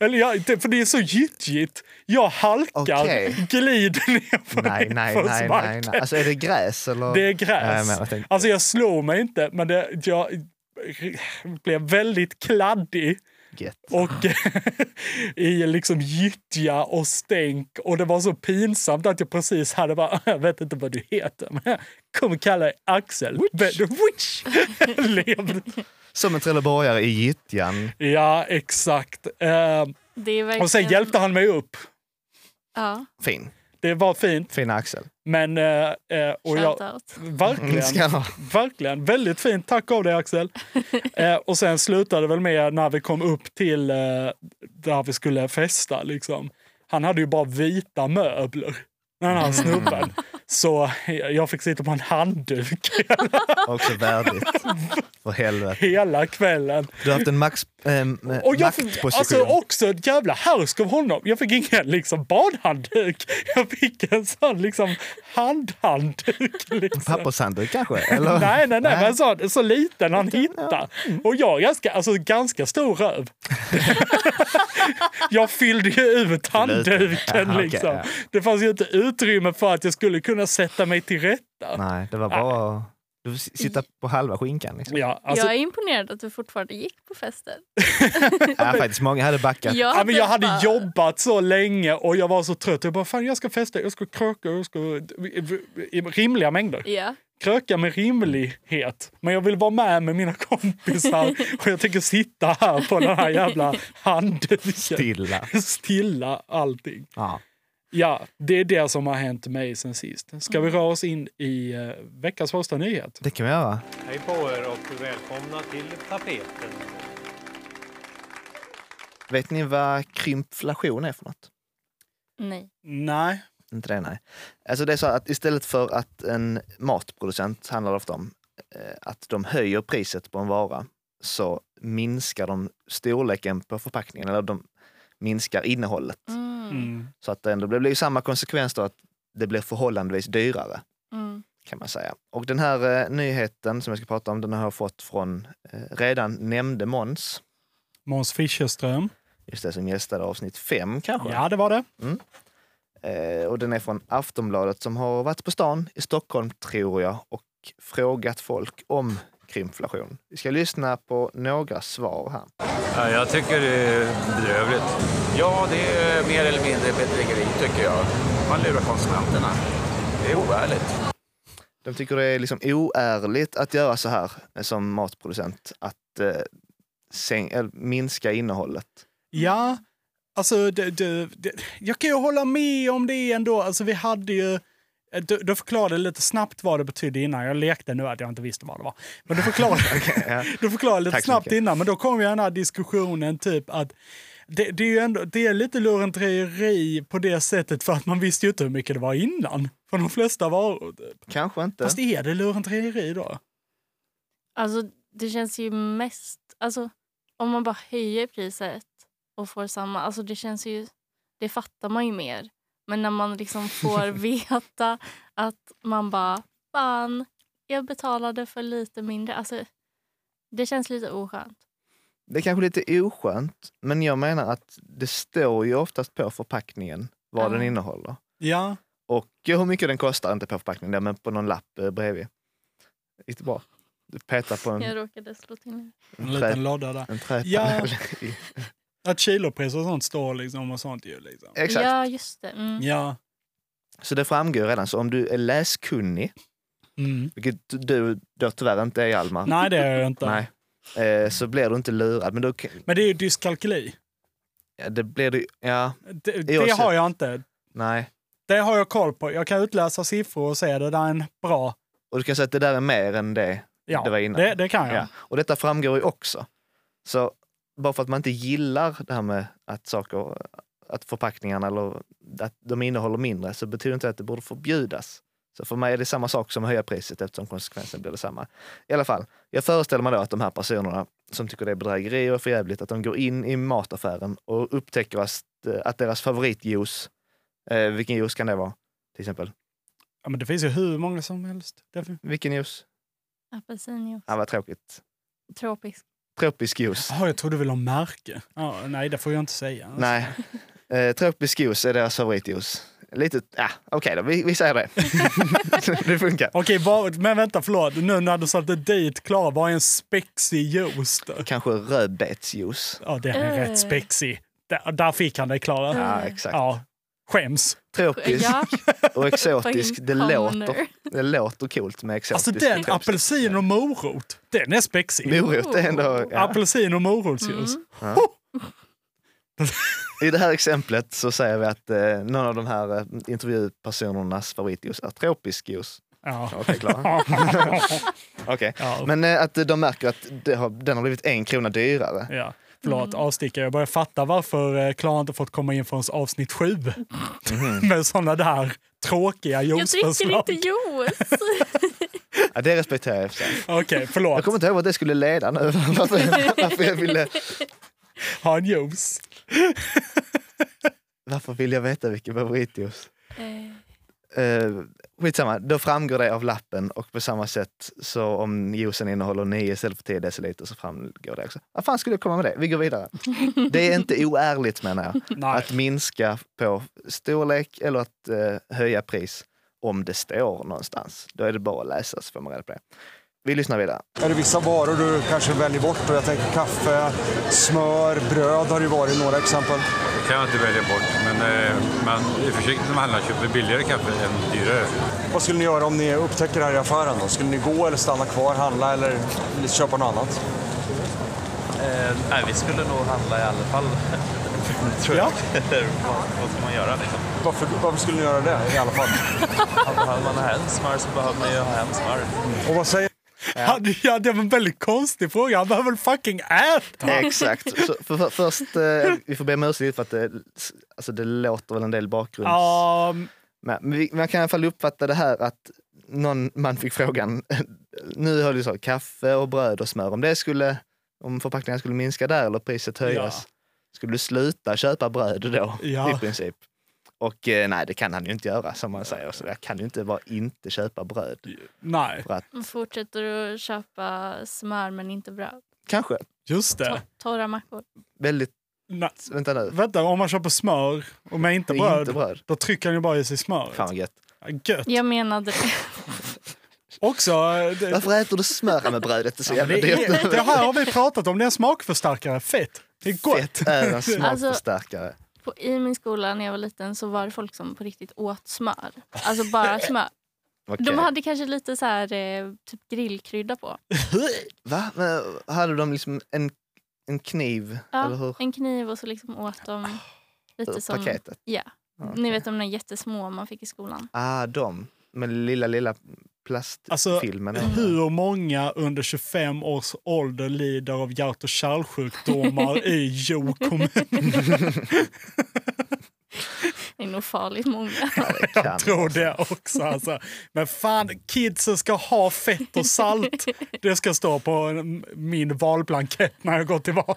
[SPEAKER 2] Eller jag, det- för det är så gyttjigt. Jag halkar,
[SPEAKER 4] Okej.
[SPEAKER 2] glider ner för
[SPEAKER 4] Nej, nej, nej, nej, nej. Alltså är det gräs eller?
[SPEAKER 2] Det är
[SPEAKER 4] Ja, jag
[SPEAKER 2] gräs.
[SPEAKER 4] menar, jag tänkte-
[SPEAKER 2] alltså jag slog mig inte, men det, jag blev väldigt kladdig.
[SPEAKER 4] Gött.
[SPEAKER 2] och i liksom gyttja och stänk. Och det var så pinsamt att jag precis hade bara, jag vet inte vad du heter, men jag kommer kalla dig Axel. Witch. Witch. Levde.
[SPEAKER 4] Som en trelleborgare i gyttjan.
[SPEAKER 2] ja, exakt. Eh,
[SPEAKER 3] Det är verkligen...
[SPEAKER 2] och sen hjälpte han mig upp.
[SPEAKER 3] Ja,
[SPEAKER 4] Fin.
[SPEAKER 2] Det var fint,
[SPEAKER 4] Fin axel.
[SPEAKER 2] men... eh, eh, och jag,
[SPEAKER 3] shoutout.
[SPEAKER 4] Det ska
[SPEAKER 2] verkligen,
[SPEAKER 4] han ha.
[SPEAKER 2] verkligen. Väldigt fint. Tack av dig, Axel. Eh, och sen slutade det väl med när vi kom upp till eh, där vi skulle festa. Liksom. Han hade ju bara vita möbler. med den här snubben. Så jag fick sitta på en handduk
[SPEAKER 4] Också värdigt. För helvete.
[SPEAKER 2] hela kvällen.
[SPEAKER 4] Du har haft en max, ehm,
[SPEAKER 2] Och jag fick
[SPEAKER 4] maktposition.
[SPEAKER 2] alltså också ett jävla härsk av honom. Jag fick ingen liksom badhandduk. Jag fick en sån liksom handhandduk. Liksom.
[SPEAKER 4] Pappershandduk kanske? Eller?
[SPEAKER 2] Nej, nej, nej, men en sån så liten han hittar.
[SPEAKER 4] Mm.
[SPEAKER 2] Och jag har ganska, alltså, ganska stor röv. jag fyllde ju ut handduken
[SPEAKER 4] Jaha, okej,
[SPEAKER 2] liksom.
[SPEAKER 4] ja.
[SPEAKER 2] Det fanns ju inte utrymme för att jag skulle kunna sätta mig till rätta.
[SPEAKER 4] Nej, det var bara att du s- sitta på halva skinkan. Liksom.
[SPEAKER 2] Ja, alltså,
[SPEAKER 3] jag är imponerad att du fortfarande gick på fester.
[SPEAKER 4] Ja, faktiskt, många hade backat.
[SPEAKER 3] Jag
[SPEAKER 2] Ja, men jag
[SPEAKER 3] bara-
[SPEAKER 2] hade jobbat så länge och jag var så trött. Jag bara, fan jag ska festa, jag ska kröka, jag ska... i Rimliga mängder.
[SPEAKER 3] Ja.
[SPEAKER 2] Kröka med rimlighet. Men jag vill vara med med mina kompisar och jag tänker sitta här på den här jävla handduken.
[SPEAKER 4] Stilla.
[SPEAKER 2] Stilla allting.
[SPEAKER 4] Ja.
[SPEAKER 2] Ja, det är det som har hänt mig sen sist. Ska vi röra oss in i eh, veckans första nyhet?
[SPEAKER 4] Det kan vi göra.
[SPEAKER 9] Hej på er och välkomna till tapeten.
[SPEAKER 4] Vet ni vad krympflation är för något?
[SPEAKER 3] Nej.
[SPEAKER 2] Nej.
[SPEAKER 4] Inte det, nej. Alltså det är så att istället för att en matproducent handlar det ofta om eh, att de höjer priset på en vara så minskar de storleken på förpackningen eller de minskar innehållet.
[SPEAKER 3] Mm.
[SPEAKER 2] Mm.
[SPEAKER 4] Så att det ändå blir, det blir ju samma konsekvens då att det blir förhållandevis dyrare
[SPEAKER 3] Mm.
[SPEAKER 4] kan man säga. Och den här eh, nyheten som jag ska prata om den har jag fått från eh, redan nämnde Måns,
[SPEAKER 2] Måns Fischerström.
[SPEAKER 4] just det som gästade avsnitt fem kanske.
[SPEAKER 2] Ja, det var det.
[SPEAKER 4] Eh, och den är från Aftonbladet som har varit på stan i Stockholm, tror jag, och frågat folk om krimflation. Vi ska lyssna på några svar här.
[SPEAKER 10] Jag tycker det är bedrövligt. Ja, det är mer eller mindre bedrägeri tycker jag. Man lurar konsumenterna. Det är oärligt.
[SPEAKER 4] De tycker det är liksom oärligt att göra så här eh, som matproducent, att eh, säng, eller minska innehållet.
[SPEAKER 2] Ja, alltså det, det, det, jag kan ju hålla med om det ändå. Alltså vi hade ju... Du, du förklarade lite snabbt vad det betydde innan. Jag lekte nu att jag inte visste vad det var. Men du förklarade,
[SPEAKER 4] ja.
[SPEAKER 2] du förklarade lite
[SPEAKER 4] Tack så
[SPEAKER 2] snabbt
[SPEAKER 4] mycket.
[SPEAKER 2] innan. Men då kom ju den här diskussionen typ att det, det är ju ändå, det är lite lurendrejeri på det sättet för att man visste ju inte hur mycket det var innan. För de flesta varor. Typ.
[SPEAKER 4] Kanske inte.
[SPEAKER 2] Fast är det lurendrejeri då?
[SPEAKER 3] Alltså, det känns ju mest... Alltså, om man bara höjer priset och får samma... Alltså, det känns ju... Det fattar man ju mer. Men när man liksom får veta att man bara... Fan, jag betalade för lite mindre. Alltså, det känns lite oskönt.
[SPEAKER 4] Det är kanske lite oskönt, men jag menar att det står ju oftast på förpackningen vad
[SPEAKER 3] Ja.
[SPEAKER 4] den innehåller.
[SPEAKER 2] Ja.
[SPEAKER 4] Och hur mycket den kostar, inte på förpackningen, där, men på någon lapp eh, bredvid. Inte bra. Du petar på en,
[SPEAKER 3] Jag råkade slå till.
[SPEAKER 2] En
[SPEAKER 4] en, trä,
[SPEAKER 2] liten låda där.
[SPEAKER 4] en träpanel. i-
[SPEAKER 2] Att kilopris och sånt står liksom och sånt ju liksom.
[SPEAKER 4] Exakt.
[SPEAKER 3] Ja, just det. Mm.
[SPEAKER 2] Ja.
[SPEAKER 4] Så det framgår redan. Så om du är läskunnig,
[SPEAKER 2] Mm.
[SPEAKER 4] vilket du då tyvärr inte är Hjalmar,
[SPEAKER 2] Nej, det är jag inte.
[SPEAKER 4] Nej. Eh, så blir du inte lurad. Men då, kan-
[SPEAKER 2] Men det är ju dyskalkyli.
[SPEAKER 4] ja, det blir du, ja,
[SPEAKER 2] Det,
[SPEAKER 4] Jag
[SPEAKER 2] det
[SPEAKER 4] ser-
[SPEAKER 2] har jag inte.
[SPEAKER 4] nej.
[SPEAKER 2] Det har jag koll på. Jag kan utläsa siffror och se det där är en bra...
[SPEAKER 4] Och du kan säga att det där är mer än det.
[SPEAKER 2] Ja,
[SPEAKER 4] Det var innan.
[SPEAKER 2] Det, det kan jag.
[SPEAKER 4] Ja. Och detta framgår ju också. Så bara för att man inte gillar det här med att saker, att förpackningarna eller att de innehåller mindre så betyder inte det att det borde förbjudas. Så för mig är det samma sak som att höja priset eftersom konsekvensen blir detsamma. I alla fall, jag föreställer mig då att de här personerna som tycker det är bedrägeri och förjävligt att de går in i mataffären och upptäcker att, eh, att deras favoritjuice, eh, vilken juice kan det vara till exempel?
[SPEAKER 2] Ja, men det finns ju hur många som helst. Därför-
[SPEAKER 4] Vilken juice?
[SPEAKER 3] Apelsinjuice.
[SPEAKER 4] Ja, vad tråkigt.
[SPEAKER 3] Tropisk.
[SPEAKER 4] Tropisk juice.
[SPEAKER 2] Jaha, jag trodde du ville ha märke. Ja, nej, det får jag inte säga.
[SPEAKER 4] Nej. Eh, tropisk juice är deras favoritjuice. Lite, ja, okej då, vi, vi säger det. det funkar.
[SPEAKER 2] Okej, vad, men vänta, förlåt. Nu när du satte dit Klara, vad är en spexig juice då?
[SPEAKER 4] Kanske rödbetsjuice.
[SPEAKER 2] Ja, det är
[SPEAKER 3] Eh.
[SPEAKER 2] rätt spexig. Där, där fick han det, Klara.
[SPEAKER 4] Ja, exakt.
[SPEAKER 2] Eh, Ja, skäms.
[SPEAKER 4] Tropisk
[SPEAKER 3] Ja,
[SPEAKER 4] och exotisk.
[SPEAKER 3] fucking
[SPEAKER 4] Det
[SPEAKER 3] commoner.
[SPEAKER 4] låter, det låter coolt med exotisk.
[SPEAKER 2] Alltså den,
[SPEAKER 4] och tropisk.
[SPEAKER 2] apelsin och morot, den är spexig.
[SPEAKER 4] Morot är ändå...
[SPEAKER 2] Oh.
[SPEAKER 4] Ja.
[SPEAKER 2] Apelsin och morotsjuice.
[SPEAKER 3] Mm.
[SPEAKER 4] I det här exemplet så säger vi att eh, någon av de här eh, intervjupersonernas favoritjuice är tropisk juice.
[SPEAKER 2] Ja.
[SPEAKER 4] Okej, Klara. Okej.
[SPEAKER 2] Ja.
[SPEAKER 4] Men eh, att de märker att det har, den har blivit en krona dyrare.
[SPEAKER 2] Ja,
[SPEAKER 3] Mm.
[SPEAKER 2] förlåt avstickare. Jag börjar
[SPEAKER 4] Mhm.
[SPEAKER 2] fatta varför eh, Klara inte fått komma in förrän avsnitt sju. Med sådana där tråkiga
[SPEAKER 3] Jag dricker
[SPEAKER 2] juicepersonal.
[SPEAKER 3] inte juice!
[SPEAKER 4] Ja, det respekterar jag i och för sig.
[SPEAKER 2] Okej,
[SPEAKER 4] Jag
[SPEAKER 2] förlåt.
[SPEAKER 4] kommer inte ihåg vad det skulle leda nu. Varför, varför, jag ville,
[SPEAKER 2] Ha en juice.
[SPEAKER 4] varför vill jag veta vilken favoritjuice?
[SPEAKER 3] Eh,
[SPEAKER 4] Uh, skitsamma, då framgår det av lappen och på samma sätt så om juicen innehåller 9 istället för 10 deciliter så framgår det också. Vad fan skulle jag komma med det? Vi går vidare. Det är inte oärligt menar jag.
[SPEAKER 2] Nej.
[SPEAKER 4] att minska på storlek eller att eh, höja pris om det står någonstans. Då är det bara att läsa så får man reda på det. Vi lyssnar vidare.
[SPEAKER 10] Är det vissa varor du kanske väljer bort? Och jag tänker kaffe, smör, bröd har det varit några exempel.
[SPEAKER 8] Det kan jag inte välja bort, men eh, man är försiktig när man handlar. Köper billigare kaffe än dyrare.
[SPEAKER 10] Vad skulle ni göra om ni upptäcker det här i affären? Då? Skulle ni gå eller stanna kvar, handla eller köpa något annat?
[SPEAKER 9] Eh, nej, vi skulle nog handla i alla fall. Tror jag. vad ska man göra liksom?
[SPEAKER 10] Varför, varför skulle ni göra det i alla fall?
[SPEAKER 9] Hade man hem smör så behöver man ju ha hem smör.
[SPEAKER 10] Och vad säger
[SPEAKER 2] Han, ja, det var en väldigt konstig fråga. Han behöver väl fucking äta?
[SPEAKER 4] Exakt. Så för, för, först, eh, vi får be om ursäkt för att det, alltså det låter väl en del bakgrunds...
[SPEAKER 2] Ja,
[SPEAKER 4] Men men vi, man kan i alla fall uppfatta det här att någon man fick frågan, nu har du så kaffe och bröd och smör, om det skulle, om förpackningen skulle minska där eller priset höjas, skulle du sluta köpa bröd då
[SPEAKER 2] Ja.
[SPEAKER 4] i princip? Och eh, nej, det kan han ju inte göra som man säger. Så jag kan ju inte bara inte köpa bröd.
[SPEAKER 2] nej,
[SPEAKER 4] För att,
[SPEAKER 3] man fortsätter att köpa smör men inte bröd.
[SPEAKER 4] kanske,
[SPEAKER 2] just
[SPEAKER 3] To-
[SPEAKER 2] det.
[SPEAKER 3] torra mackor.
[SPEAKER 4] väldigt,
[SPEAKER 2] Nej.
[SPEAKER 4] vänta nu,
[SPEAKER 2] Vänta, om man köper smör och med inte
[SPEAKER 4] det är
[SPEAKER 2] bröd,
[SPEAKER 4] inte bröd.
[SPEAKER 2] då trycker han ju bara i sig smör.
[SPEAKER 4] Fan vad gött.
[SPEAKER 2] Gött.
[SPEAKER 3] Jag menade det.
[SPEAKER 2] Också, eh, det,
[SPEAKER 4] Varför äter du smör med brödet? Det är så
[SPEAKER 2] det,
[SPEAKER 4] jävla dyrt.
[SPEAKER 2] är, det här har vi pratat om, det är en smakförstärkare. Fett. Det är gott.
[SPEAKER 4] Fett är en
[SPEAKER 3] Alltså,
[SPEAKER 4] smakförstärkare.
[SPEAKER 3] På, I min skola när jag var liten så var det folk som på riktigt åt smör. Alltså bara smör.
[SPEAKER 4] Okej.
[SPEAKER 3] De hade kanske lite så här, eh, typ grillkrydda på.
[SPEAKER 4] Va? Men, hade de liksom en, en kniv? eller hur?
[SPEAKER 3] Ja, en kniv och så liksom åt de lite som...
[SPEAKER 4] Paketet?
[SPEAKER 3] Ja.
[SPEAKER 4] Okej.
[SPEAKER 3] Ni vet de där jättesmå man fick i skolan.
[SPEAKER 4] Ah, de. Med lilla, lilla
[SPEAKER 2] Alltså,
[SPEAKER 4] plastfilmen.
[SPEAKER 2] Hur många under 25 års ålder lider av hjärt och kärlsjukdomar i Jo kommun?
[SPEAKER 3] Det är nog farligt många.
[SPEAKER 4] Kan.
[SPEAKER 2] Jag tror det också. Alltså. Men fan, kidsen ska ha fett och salt. Det ska stå på en- min valblankett när jag går till val.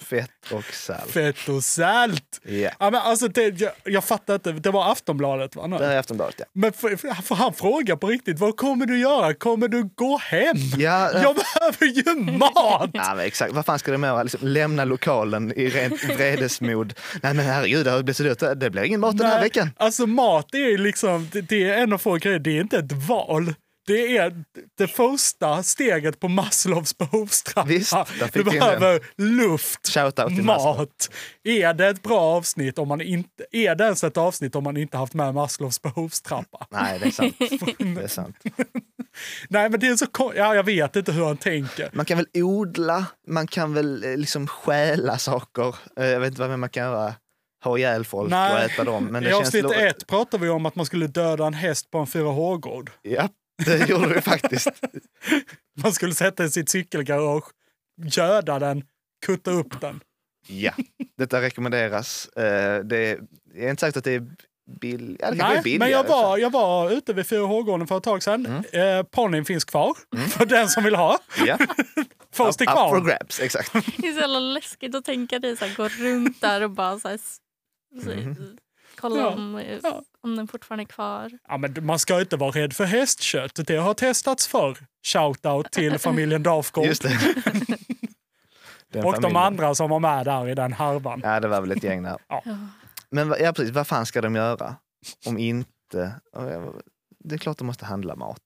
[SPEAKER 4] Fett och salt.
[SPEAKER 2] Fett och salt!
[SPEAKER 4] Ja.
[SPEAKER 2] Ja, men alltså, det, jag, jag fattar inte. Det var Aftonbladet, va?
[SPEAKER 4] Det här
[SPEAKER 2] Nu.
[SPEAKER 4] är Aftonbladet, ja.
[SPEAKER 2] Men för, för, för han frågar på riktigt, vad kommer du göra? Kommer du gå hem?
[SPEAKER 4] Ja, eh,
[SPEAKER 2] Jag behöver ju mat!
[SPEAKER 4] ja men exakt. Vad fan ska de göra? Liksom, lämna lokalen i rent vredesmod. Nej, men herregud, det har blivit så dyrt. Det blir ingen mat den här
[SPEAKER 2] Nej,
[SPEAKER 4] veckan.
[SPEAKER 2] Alltså mat är ju liksom, det- det är en av få grejer, det är inte ett val. Det är det första steget på Maslows behovstrappa.
[SPEAKER 4] Visst, där fick
[SPEAKER 2] du
[SPEAKER 4] vi in
[SPEAKER 2] behöver luft,
[SPEAKER 4] Shoutout till Maslow.
[SPEAKER 2] mat. Är det ett bra avsnitt om man inte, är det ens ett avsnitt om man inte haft med Maslows behovstrappa?
[SPEAKER 4] Nej, det är sant. Det är sant.
[SPEAKER 2] Nej men det är så kon- ja jag vet inte hur han tänker.
[SPEAKER 4] Man kan väl odla, man kan väl eh, liksom stjäla saker. Eh, Jag vet inte vad mer man kan göra. Ha ihjäl folk och
[SPEAKER 2] Nej.
[SPEAKER 4] äta dem. Men det
[SPEAKER 2] I avsnitt
[SPEAKER 4] känns lo-
[SPEAKER 2] ett pratade vi om att man skulle döda en häst på en 4H-gård.
[SPEAKER 4] Ja, det gjorde vi faktiskt.
[SPEAKER 2] Man skulle sätta i sitt cykelgarage, göda den, kutta upp den.
[SPEAKER 4] Ja, detta rekommenderas. Eh, Det är, jag är inte säkert att det är billigt. Ja, det kanske är
[SPEAKER 2] Nej,
[SPEAKER 4] billigare. liksom.
[SPEAKER 2] men jag var, jag var ute vid 4H-gården för ett tag sedan.
[SPEAKER 4] Mm.
[SPEAKER 2] Eh, Ponnyn finns kvar för den som vill ha.
[SPEAKER 4] Ja,
[SPEAKER 2] Fås
[SPEAKER 4] Mm. up,
[SPEAKER 2] till
[SPEAKER 4] up for
[SPEAKER 2] kvarn.
[SPEAKER 4] grabs, exakt.
[SPEAKER 3] Det är så jävla läskigt att tänka dig så här, gå runt där och bara så här, s- så,
[SPEAKER 4] Mhm.
[SPEAKER 3] kolla
[SPEAKER 2] Ja,
[SPEAKER 3] om, eh,
[SPEAKER 2] ja.
[SPEAKER 3] om den fortfarande är kvar.
[SPEAKER 2] Ja, men man ska inte vara rädd för hästkött. Det har testats förr. Shoutout till familjen Dafgård
[SPEAKER 4] Just det. Den
[SPEAKER 2] och de
[SPEAKER 4] familjen.
[SPEAKER 2] andra som var med där i den harvan.
[SPEAKER 4] Ja, det var väl ett gäng där.
[SPEAKER 2] Ja.
[SPEAKER 4] Men vad- ja, precis, vad fan ska de göra om inte... Det är klart de måste handla mat.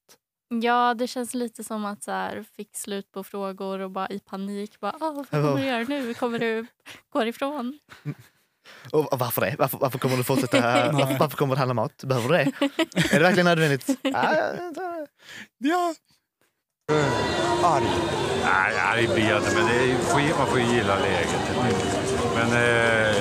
[SPEAKER 3] Ja, det känns lite som att så här, fick slut på frågor och bara i panik. Bara, ah, vad kommer du göra nu? Kommer du gå ifrån?
[SPEAKER 4] Och och varför det? Varför, varför kommer du fortsätta? Varför, varför kommer du handla mat? Behöver du det? Är det verkligen nödvändigt? Ja, jag tror det.
[SPEAKER 2] Ja,
[SPEAKER 8] Nej, arg blir jag inte, men det är- får ju- man får ju gilla läget. Men eh,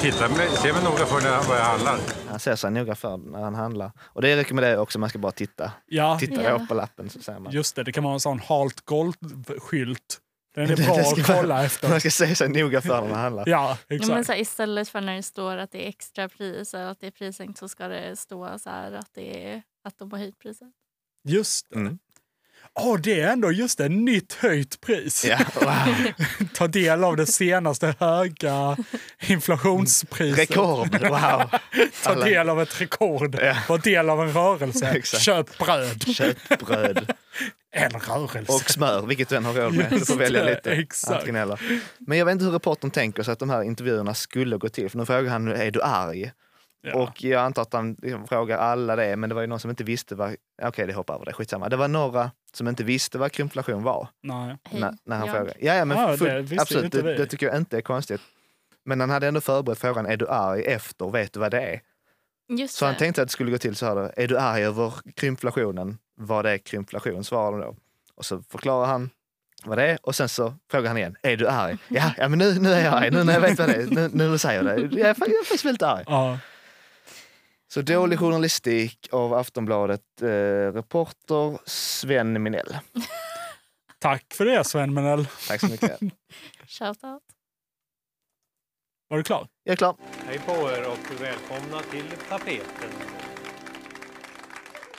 [SPEAKER 8] titta, med- se mig noga för när jag- vad jag handlar.
[SPEAKER 4] Han ser sig noga för när han handlar. Och det rekommenderar jag också, man ska bara titta.
[SPEAKER 2] Ah, ja
[SPEAKER 4] Tittar
[SPEAKER 3] Ja.
[SPEAKER 4] jag på lappen så ser man.
[SPEAKER 2] just det. Det kan vara en sån halt golvskylt Den är bra
[SPEAKER 4] Det ska
[SPEAKER 2] att
[SPEAKER 4] man-
[SPEAKER 2] kolla efter.
[SPEAKER 4] Man ska säga sig noga för när man handlar.
[SPEAKER 2] Ja,
[SPEAKER 3] Ja, men
[SPEAKER 2] exakt.
[SPEAKER 3] så här, istället för när det står att det är extra pris eller att det är prishöjt så ska det stå så här att, det är, att de har höjt priset.
[SPEAKER 2] Just det.
[SPEAKER 4] Mm.
[SPEAKER 2] Åh, det är ändå just ett nytt höjt pris.
[SPEAKER 4] Ja, wow.
[SPEAKER 2] Ta del av det senaste höga inflationspriset.
[SPEAKER 4] Rekord, wow.
[SPEAKER 2] Ta
[SPEAKER 4] Alla-
[SPEAKER 2] del av ett rekord.
[SPEAKER 4] Ja.
[SPEAKER 2] Var del av en rörelse.
[SPEAKER 4] Exakt.
[SPEAKER 2] Köp bröd.
[SPEAKER 4] Köttbröd
[SPEAKER 2] En rörelse.
[SPEAKER 4] och smör, vilket du än har råd med. Du får
[SPEAKER 2] Just
[SPEAKER 4] välja
[SPEAKER 2] det,
[SPEAKER 4] lite.
[SPEAKER 2] exakt.
[SPEAKER 4] antingen eller. Men jag vet inte hur reportern tänker sig att de här intervjuerna skulle gå till. För nu frågar han, är du arg?
[SPEAKER 2] Ja.
[SPEAKER 4] Och jag antar att han liksom frågar alla det, men det var ju någon som inte visste vad... Okej, det hoppar över det, skitsamma. Det var några som inte visste vad krympflation var.
[SPEAKER 2] Nej.
[SPEAKER 3] Hej,
[SPEAKER 4] när, när han
[SPEAKER 3] jag.
[SPEAKER 4] frågar. Ja, ja, men
[SPEAKER 2] Ja, det
[SPEAKER 4] full,
[SPEAKER 2] visste
[SPEAKER 4] absolut,
[SPEAKER 2] inte
[SPEAKER 4] det,
[SPEAKER 2] vi.
[SPEAKER 4] det tycker jag inte är konstigt. Men han hade ändå förberett frågan, är du arg efter, vet du vad det är?
[SPEAKER 3] Just
[SPEAKER 4] Så han
[SPEAKER 3] det.
[SPEAKER 4] tänkte att det skulle gå till så här, då, är du arg över krympflationen? Vad är krympflation? Svarar de då. Och så förklarar han vad det är och sen så frågar han igen, är du arg? Ja, ja men nu, nu är jag arg, nu när jag vet vad det är, nu, nu när du säger det. Jag är, fa- jag är faktiskt väldigt arg.
[SPEAKER 2] Ja.
[SPEAKER 4] Så dålig journalistik av Aftonbladet, eh, reporter Sven Minell.
[SPEAKER 2] Tack för det, Sven Menel.
[SPEAKER 4] Tack så mycket.
[SPEAKER 3] Shout out.
[SPEAKER 2] Var du klar?
[SPEAKER 4] Jag är klar.
[SPEAKER 9] Hej på er och välkomna till tapeten.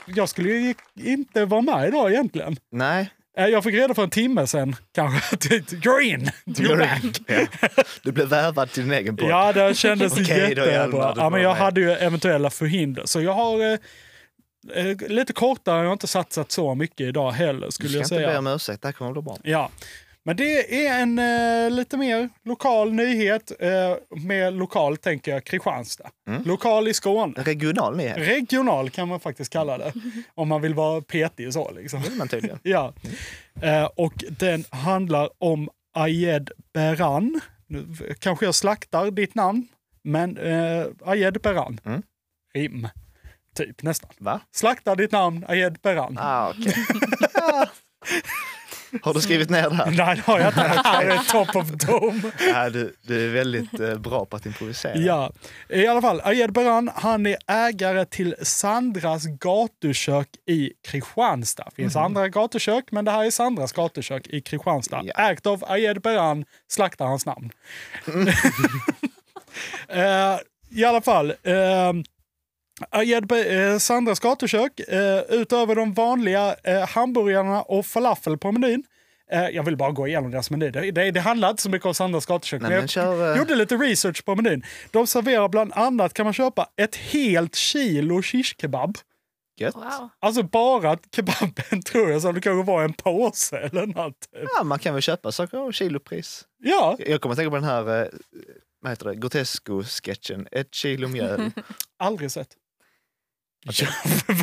[SPEAKER 2] Jag skulle ju inte vara med idag egentligen.
[SPEAKER 4] Nej,
[SPEAKER 2] Eh, Jag fick reda för en timme sen kanske. att You're in! You're back!
[SPEAKER 4] Ja. Du blev värvad till din egen podd.
[SPEAKER 2] Ja, det kändes
[SPEAKER 4] Okej då,
[SPEAKER 2] jättebra.
[SPEAKER 4] Hjalmar, du
[SPEAKER 2] Ja, men
[SPEAKER 4] får
[SPEAKER 2] jag
[SPEAKER 4] vara med.
[SPEAKER 2] hade ju eventuella förhinder. Så jag har eh, eh, lite kortare, jag har inte satsat så mycket idag heller
[SPEAKER 4] du
[SPEAKER 2] skulle
[SPEAKER 4] ska
[SPEAKER 2] jag
[SPEAKER 4] inte be
[SPEAKER 2] säga.
[SPEAKER 4] om ursäkt, det här kommer att bli bra.
[SPEAKER 2] Ja. Men det är en eh, lite mer lokal nyhet. Eh, med lokal tänker jag Kristianstad.
[SPEAKER 4] Mm.
[SPEAKER 2] Lokal i Skåne.
[SPEAKER 4] Regional nyhet,
[SPEAKER 2] Regional kan man faktiskt kalla det. Om man vill vara petig så liksom.
[SPEAKER 4] vill man tydligen.
[SPEAKER 2] Ja. Eh, och den handlar om Ayed Beran. Nu v- kanske jag slaktar ditt namn, men eh, Ayed Beran.
[SPEAKER 4] Mm.
[SPEAKER 2] Rim, typ nästan.
[SPEAKER 4] Va?
[SPEAKER 2] Slaktar ditt namn, Ayed Beran.
[SPEAKER 4] Ah, okej. Har du skrivit ner det här?
[SPEAKER 2] Nej, det har jag inte. Det här är top of dome.
[SPEAKER 4] Ja, du, du är väldigt eh, bra på att improvisera.
[SPEAKER 2] Ja, i alla fall. Ayed Beran, han är ägare till Sandras gatukök i Kristianstad. finns
[SPEAKER 4] Mhm.
[SPEAKER 2] andra gatukök, men det här är Sandras gatukök i Kristianstad.
[SPEAKER 4] Ja.
[SPEAKER 2] Ägt av Ayed Beran, slaktar hans namn. Eh, I alla fall. ehm, Ayed Be- eh, Sandras gatukök, eh, utöver de vanliga eh, hamburgarna och falafel på menyn. Eh, jag vill bara gå igenom deras meny. Det, det, det handlar inte så mycket om Sandras gatukök. men
[SPEAKER 4] Nej, men
[SPEAKER 2] jag
[SPEAKER 4] kör, eh,
[SPEAKER 2] gjorde lite research på menyn. De serverar bland annat, kan man köpa ett helt kilo shishkebab.
[SPEAKER 4] Gött.
[SPEAKER 3] Wow.
[SPEAKER 2] Alltså bara kebaben tror jag, så det kanske var en påse eller något. typ.
[SPEAKER 4] Ja, man kan väl köpa saker av kilopris.
[SPEAKER 2] Ja,
[SPEAKER 4] Jag kommer att tänka på den här eh, vad heter det? Grotesco-sketchen, ett kilo mjöl.
[SPEAKER 2] aldrig sett.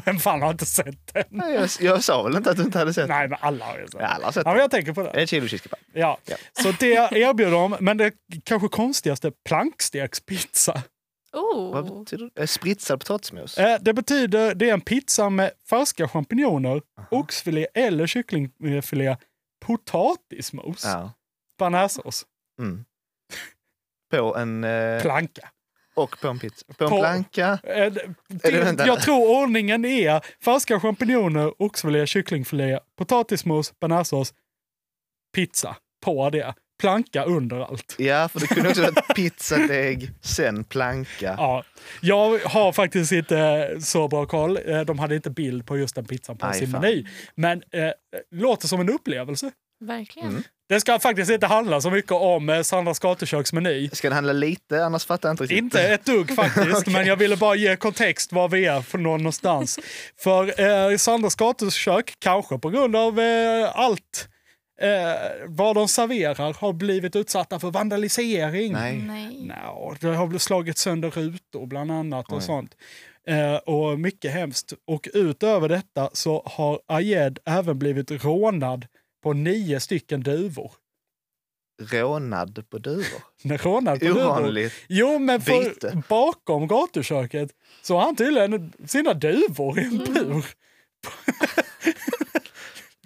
[SPEAKER 2] Vem fan har inte sett den?
[SPEAKER 4] Nej, jag, jag sa väl inte att du inte hade sett den?
[SPEAKER 2] Nej, men alla har ju sett
[SPEAKER 4] Ja,
[SPEAKER 2] den.
[SPEAKER 4] alla har sett
[SPEAKER 2] Ja, men
[SPEAKER 4] den.
[SPEAKER 2] jag tänker på det.
[SPEAKER 4] Ett kilo cheesecake.
[SPEAKER 2] Ja.
[SPEAKER 4] Ja.
[SPEAKER 2] Så det erbjuder de, men det kanske konstigaste, plankstekspizza.
[SPEAKER 4] Vad
[SPEAKER 3] Oh.
[SPEAKER 4] betyder det? Eh, Spritsad potatismos?
[SPEAKER 2] Eh, Det betyder, det är en pizza med färska champinjoner, oxfilé eller kycklingfilé, potatismos,
[SPEAKER 4] Ja.
[SPEAKER 2] bearnaisesås,
[SPEAKER 4] Mm. På en... eh,
[SPEAKER 2] planka.
[SPEAKER 4] Och på en pizza. På en
[SPEAKER 2] På-
[SPEAKER 4] planka.
[SPEAKER 2] Eh, det-
[SPEAKER 4] det vänta?
[SPEAKER 2] Jag tror ordningen är färska champinjoner, oxfilé, kycklingfilé, potatismos, bearnaisesås, pizza på det. Planka under allt.
[SPEAKER 4] Ja, för det kunde också varit pizzadeg, sen planka.
[SPEAKER 2] Ja, jag har faktiskt inte så bra koll. Eh, De hade inte bild på just den pizzan på
[SPEAKER 4] Aj,
[SPEAKER 2] sin
[SPEAKER 4] fan.
[SPEAKER 2] meny. Men eh, låter som en upplevelse.
[SPEAKER 3] Verkligen.
[SPEAKER 2] Det ska faktiskt inte handla så mycket om eh, Sandras gatuköks meny.
[SPEAKER 4] Ska det handla lite? Annars fattar jag inte riktigt.
[SPEAKER 2] Inte ett dugg faktiskt, men jag ville bara ge kontext var vi är för nå- någonstans. för eh, Sandras gatukök, kanske på grund av eh, allt eh, vad de serverar, har blivit utsatta för vandalisering.
[SPEAKER 4] Nej.
[SPEAKER 3] Nej.
[SPEAKER 2] No, det har väl slagit sönder rutor bland annat och sånt. Eh, och mycket hemskt. Och utöver detta så har Ayed även blivit rånad på nio stycken duvor.
[SPEAKER 4] Rånad på duvor.
[SPEAKER 2] Rånad på duvor.
[SPEAKER 4] Ovanligt.
[SPEAKER 2] Jo, men
[SPEAKER 4] Byte.
[SPEAKER 2] för, bakom gatuköket så har han tydligen sina duvor i en bur.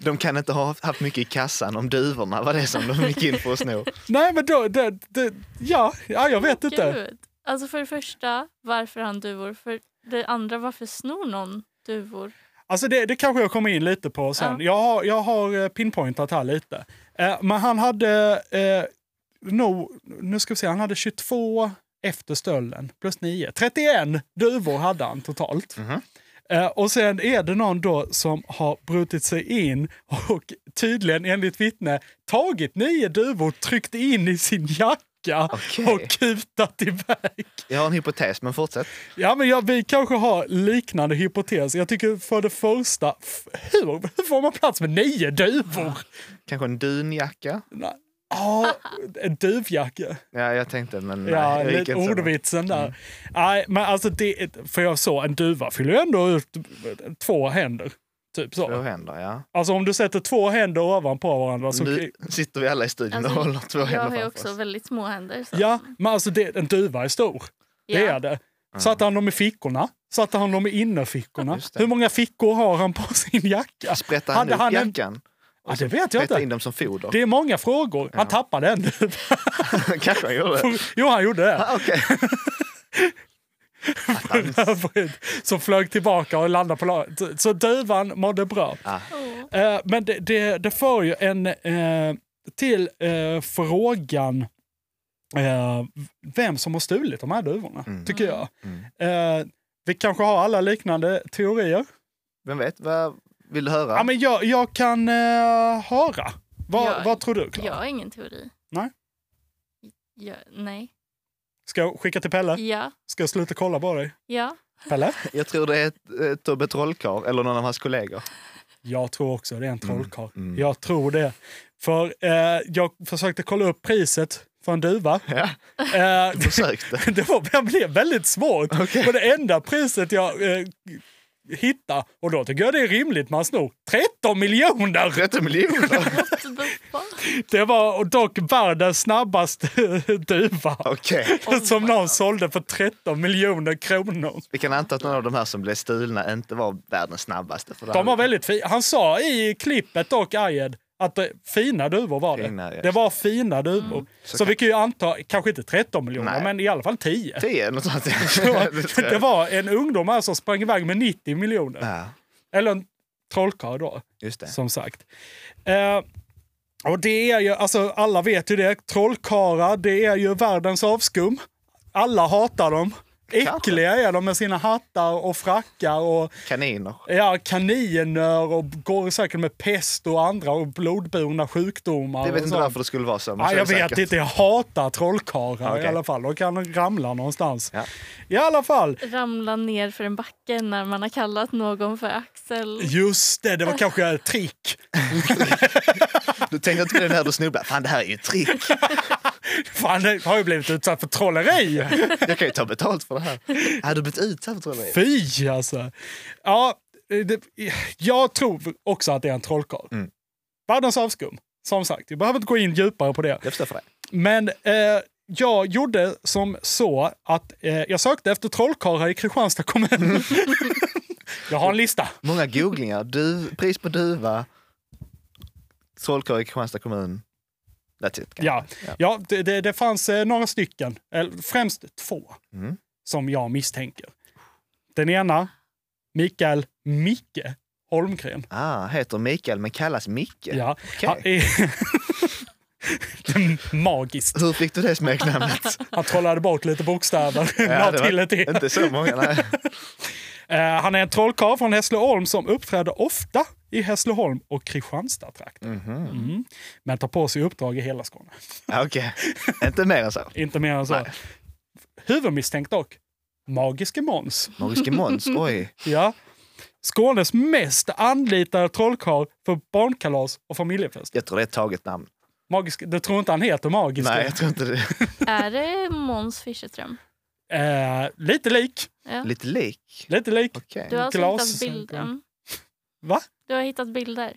[SPEAKER 4] De kan inte ha haft mycket i kassan om duvorna var det som de gick in för att sno.
[SPEAKER 2] Nej, men då, det, det, ja, ja, jag vet inte.
[SPEAKER 3] Gud. Alltså för det första, varför han duvor? För det andra, varför snor någon duvor?
[SPEAKER 2] Alltså det, det kanske jag kommer in lite på sen. Jag, har, jag har eh, pinpointat här lite. Eh, men han hade, eh, no, nu ska vi se, han hade 22 efter stölden, plus 9. 31 duvor hade han totalt. Eh, och sen är det någon då som har brutit sig in och tydligen enligt vittne tagit nio duvor, tryckt in i sin jacka och kutat iväg.
[SPEAKER 4] Jag har en hypotes, men fortsätt.
[SPEAKER 2] Ja, men ja, vi kanske har liknande hypoteser. Jag tycker för det första, f- hur, hur får man plats med nio duvor?
[SPEAKER 4] Kanske en dunjacka?
[SPEAKER 2] Nej.
[SPEAKER 4] Ah.
[SPEAKER 2] Ja, en duvjacka.
[SPEAKER 4] Ja, jag tänkte, men nej.
[SPEAKER 2] Ja,
[SPEAKER 4] jag gick
[SPEAKER 2] lite
[SPEAKER 4] inte så långt. Mm.
[SPEAKER 2] ordvitsen där. Nej, men alltså det, för jag så, en duva fyller ju ändå ut två händer. Typ
[SPEAKER 4] Två
[SPEAKER 2] så.
[SPEAKER 4] händer, ja.
[SPEAKER 2] Alltså om du sätter två händer ovanpå varandra så...
[SPEAKER 4] Nu sitter vi alla i studion
[SPEAKER 3] Alltså,
[SPEAKER 4] och håller två
[SPEAKER 3] Jag
[SPEAKER 4] händer
[SPEAKER 3] har ju
[SPEAKER 4] framför
[SPEAKER 3] också
[SPEAKER 4] oss.
[SPEAKER 3] väldigt små händer. Så.
[SPEAKER 2] Ja, men alltså det, en duva är stor. Det
[SPEAKER 3] Ja.
[SPEAKER 2] är det. Satte han dem i fickorna? Satte han dem i innerfickorna?
[SPEAKER 4] Just det.
[SPEAKER 2] Hur många fickor har han på sin jacka?
[SPEAKER 4] Sprättar han
[SPEAKER 2] Hade
[SPEAKER 4] upp
[SPEAKER 2] han en-
[SPEAKER 4] jackan?
[SPEAKER 2] Ja, det vet jag
[SPEAKER 4] Sprättar in
[SPEAKER 2] inte.
[SPEAKER 4] dem som foder?
[SPEAKER 2] Det är många frågor. Han tappade en.
[SPEAKER 4] Kanske han gjorde.
[SPEAKER 2] jo, han gjorde det.
[SPEAKER 4] Ah, Okej.
[SPEAKER 2] Som flög tillbaka och landade på laget. Så duvan mådde bra. Eh, Men det, det, det för ju en eh, till eh, frågan eh, vem som har stulit de här duvorna, tycker jag. Eh, vi kanske har alla liknande teorier.
[SPEAKER 4] Vem vet? Vad vill du höra?
[SPEAKER 2] Ja, men jag, jag kan eh, höra. Vad,
[SPEAKER 3] Jag-
[SPEAKER 2] vad tror du, Klara?
[SPEAKER 3] Jag har ingen teori.
[SPEAKER 2] Nej.
[SPEAKER 3] Jag, nej.
[SPEAKER 2] Ska jag skicka till Pelle?
[SPEAKER 3] Ja.
[SPEAKER 2] Ska jag sluta kolla på dig?
[SPEAKER 3] Ja.
[SPEAKER 2] Pelle?
[SPEAKER 4] Jag tror det är ett, eh, Tobbe Trollkarl eller någon av hans kollegor.
[SPEAKER 2] Jag tror också det är en
[SPEAKER 4] Mm,
[SPEAKER 2] trollkarl. Jag tror det. För eh, jag försökte kolla upp priset för en duva.
[SPEAKER 4] Ja,
[SPEAKER 2] Eh,
[SPEAKER 4] jag försökte.
[SPEAKER 2] det, var, det blev väldigt svårt.
[SPEAKER 4] Okej.
[SPEAKER 2] Och det enda priset jag eh, hittade, och då tycker jag det är rimligt man snor, 13 miljoner!
[SPEAKER 4] 30 miljoner?
[SPEAKER 3] Så då bara-
[SPEAKER 2] Det var dock världens snabbaste duva.
[SPEAKER 4] Okej. Oh
[SPEAKER 2] Som någon sålde för 13 miljoner kronor.
[SPEAKER 4] Vi kan anta att någon av de här som blev stulna inte var världens snabbaste. För det
[SPEAKER 2] De var
[SPEAKER 4] hade-
[SPEAKER 2] väldigt fi- Han sa i klippet och Ayed att det, fina duvor var det.
[SPEAKER 4] Fina, ja. Mm.
[SPEAKER 2] det var fina duvor. Så, vi kan ju anta, kanske inte 13 miljoner,
[SPEAKER 4] Nej.
[SPEAKER 2] men i alla fall 10.
[SPEAKER 4] 10 något sånt. tror jag.
[SPEAKER 2] det var en ungdom här som sprang iväg med 90 miljoner.
[SPEAKER 4] Ja,
[SPEAKER 2] Eller en trollkarl då,
[SPEAKER 4] just det.
[SPEAKER 2] som sagt. Eh, och det är ju, alltså alla vet ju det, trollkarlar det är ju världens avskum. Alla hatar dem. Äckliga är de med sina hattar och frackar och
[SPEAKER 4] Kaniner.
[SPEAKER 2] Ja, kaniner och går säkert med pest och andra och blodburna sjukdomar.
[SPEAKER 4] Jag vet
[SPEAKER 2] och
[SPEAKER 4] inte
[SPEAKER 2] sånt.
[SPEAKER 4] varför det skulle vara så.
[SPEAKER 2] Ja,
[SPEAKER 4] men så är
[SPEAKER 2] jag
[SPEAKER 4] det
[SPEAKER 2] vet
[SPEAKER 4] säkert.
[SPEAKER 2] inte, jag hatar trollkarlar
[SPEAKER 4] Okej.
[SPEAKER 2] i alla fall. De kan ramla någonstans.
[SPEAKER 4] Ja.
[SPEAKER 2] I alla fall,
[SPEAKER 3] Ramla ner för en backe när man har kallat någon för Axel.
[SPEAKER 2] just det, det var kanske ett trick.
[SPEAKER 4] Du tänkte inte på det när du snubblade. Fan, det här är ju ett trick.
[SPEAKER 2] Fan, det har ju blivit utsatt för trolleri.
[SPEAKER 4] Jag kan ju ta betalt för det här. Hade du blivit utsatt för det?
[SPEAKER 2] Fy alltså. Ja, det, jag tror också att det är en trollkarl.
[SPEAKER 4] Mm.
[SPEAKER 2] Världens avskum, som sagt. Jag behöver inte gå in djupare på det.
[SPEAKER 4] Jag förstår för dig.
[SPEAKER 2] Men eh, jag gjorde som så att eh, jag sökte efter trollkarlar i Kristianstad kommun. jag har en lista.
[SPEAKER 4] Många googlingar. Du, pris på duva. Trollkarl i Kristianstad kommun. That's it. kanske.
[SPEAKER 2] Ja, ja det, det, det fanns eh, några stycken, eller främst två,
[SPEAKER 4] Mm.
[SPEAKER 2] som jag misstänker. Den ena, Mikael Micke Holmgren.
[SPEAKER 4] Ah, heter Mikael men kallas Micke.
[SPEAKER 2] Ja.
[SPEAKER 4] okej.
[SPEAKER 2] Han är- Magiskt.
[SPEAKER 4] Hur fick du det smeknamnet?
[SPEAKER 2] Han trollade bort lite bokstäver.
[SPEAKER 4] Ja, det
[SPEAKER 2] la
[SPEAKER 4] var
[SPEAKER 2] till ett E.
[SPEAKER 4] Inte så många, nej.
[SPEAKER 2] Eh, Han är en trollkarl från Hässleholm som uppträder ofta i Hässleholm och Kristianstadtrakten. Mm. Men tar på sig uppdrag i hela Skåne.
[SPEAKER 4] Ja, Okej, inte mer än så.
[SPEAKER 2] Inte mer än så. Huvudmisstänkt dock, Magiske Måns.
[SPEAKER 4] Magiske Måns, oj.
[SPEAKER 2] Ja. Skånes mest anlitade trollkarl för barnkalas och familjefest.
[SPEAKER 4] Jag tror det är ett taget namn.
[SPEAKER 2] Magisk, du tror inte han heter Magiske?
[SPEAKER 4] Nej, jag tror inte det.
[SPEAKER 3] Är det Måns Fischerström?
[SPEAKER 2] Eh, lite lik.
[SPEAKER 3] Ja.
[SPEAKER 4] Lite lik.
[SPEAKER 2] Lite lik.
[SPEAKER 4] Okej.
[SPEAKER 3] Du har alltså
[SPEAKER 2] Glas-
[SPEAKER 3] hittat bilden.
[SPEAKER 2] Va?
[SPEAKER 3] Du har hittat bilder.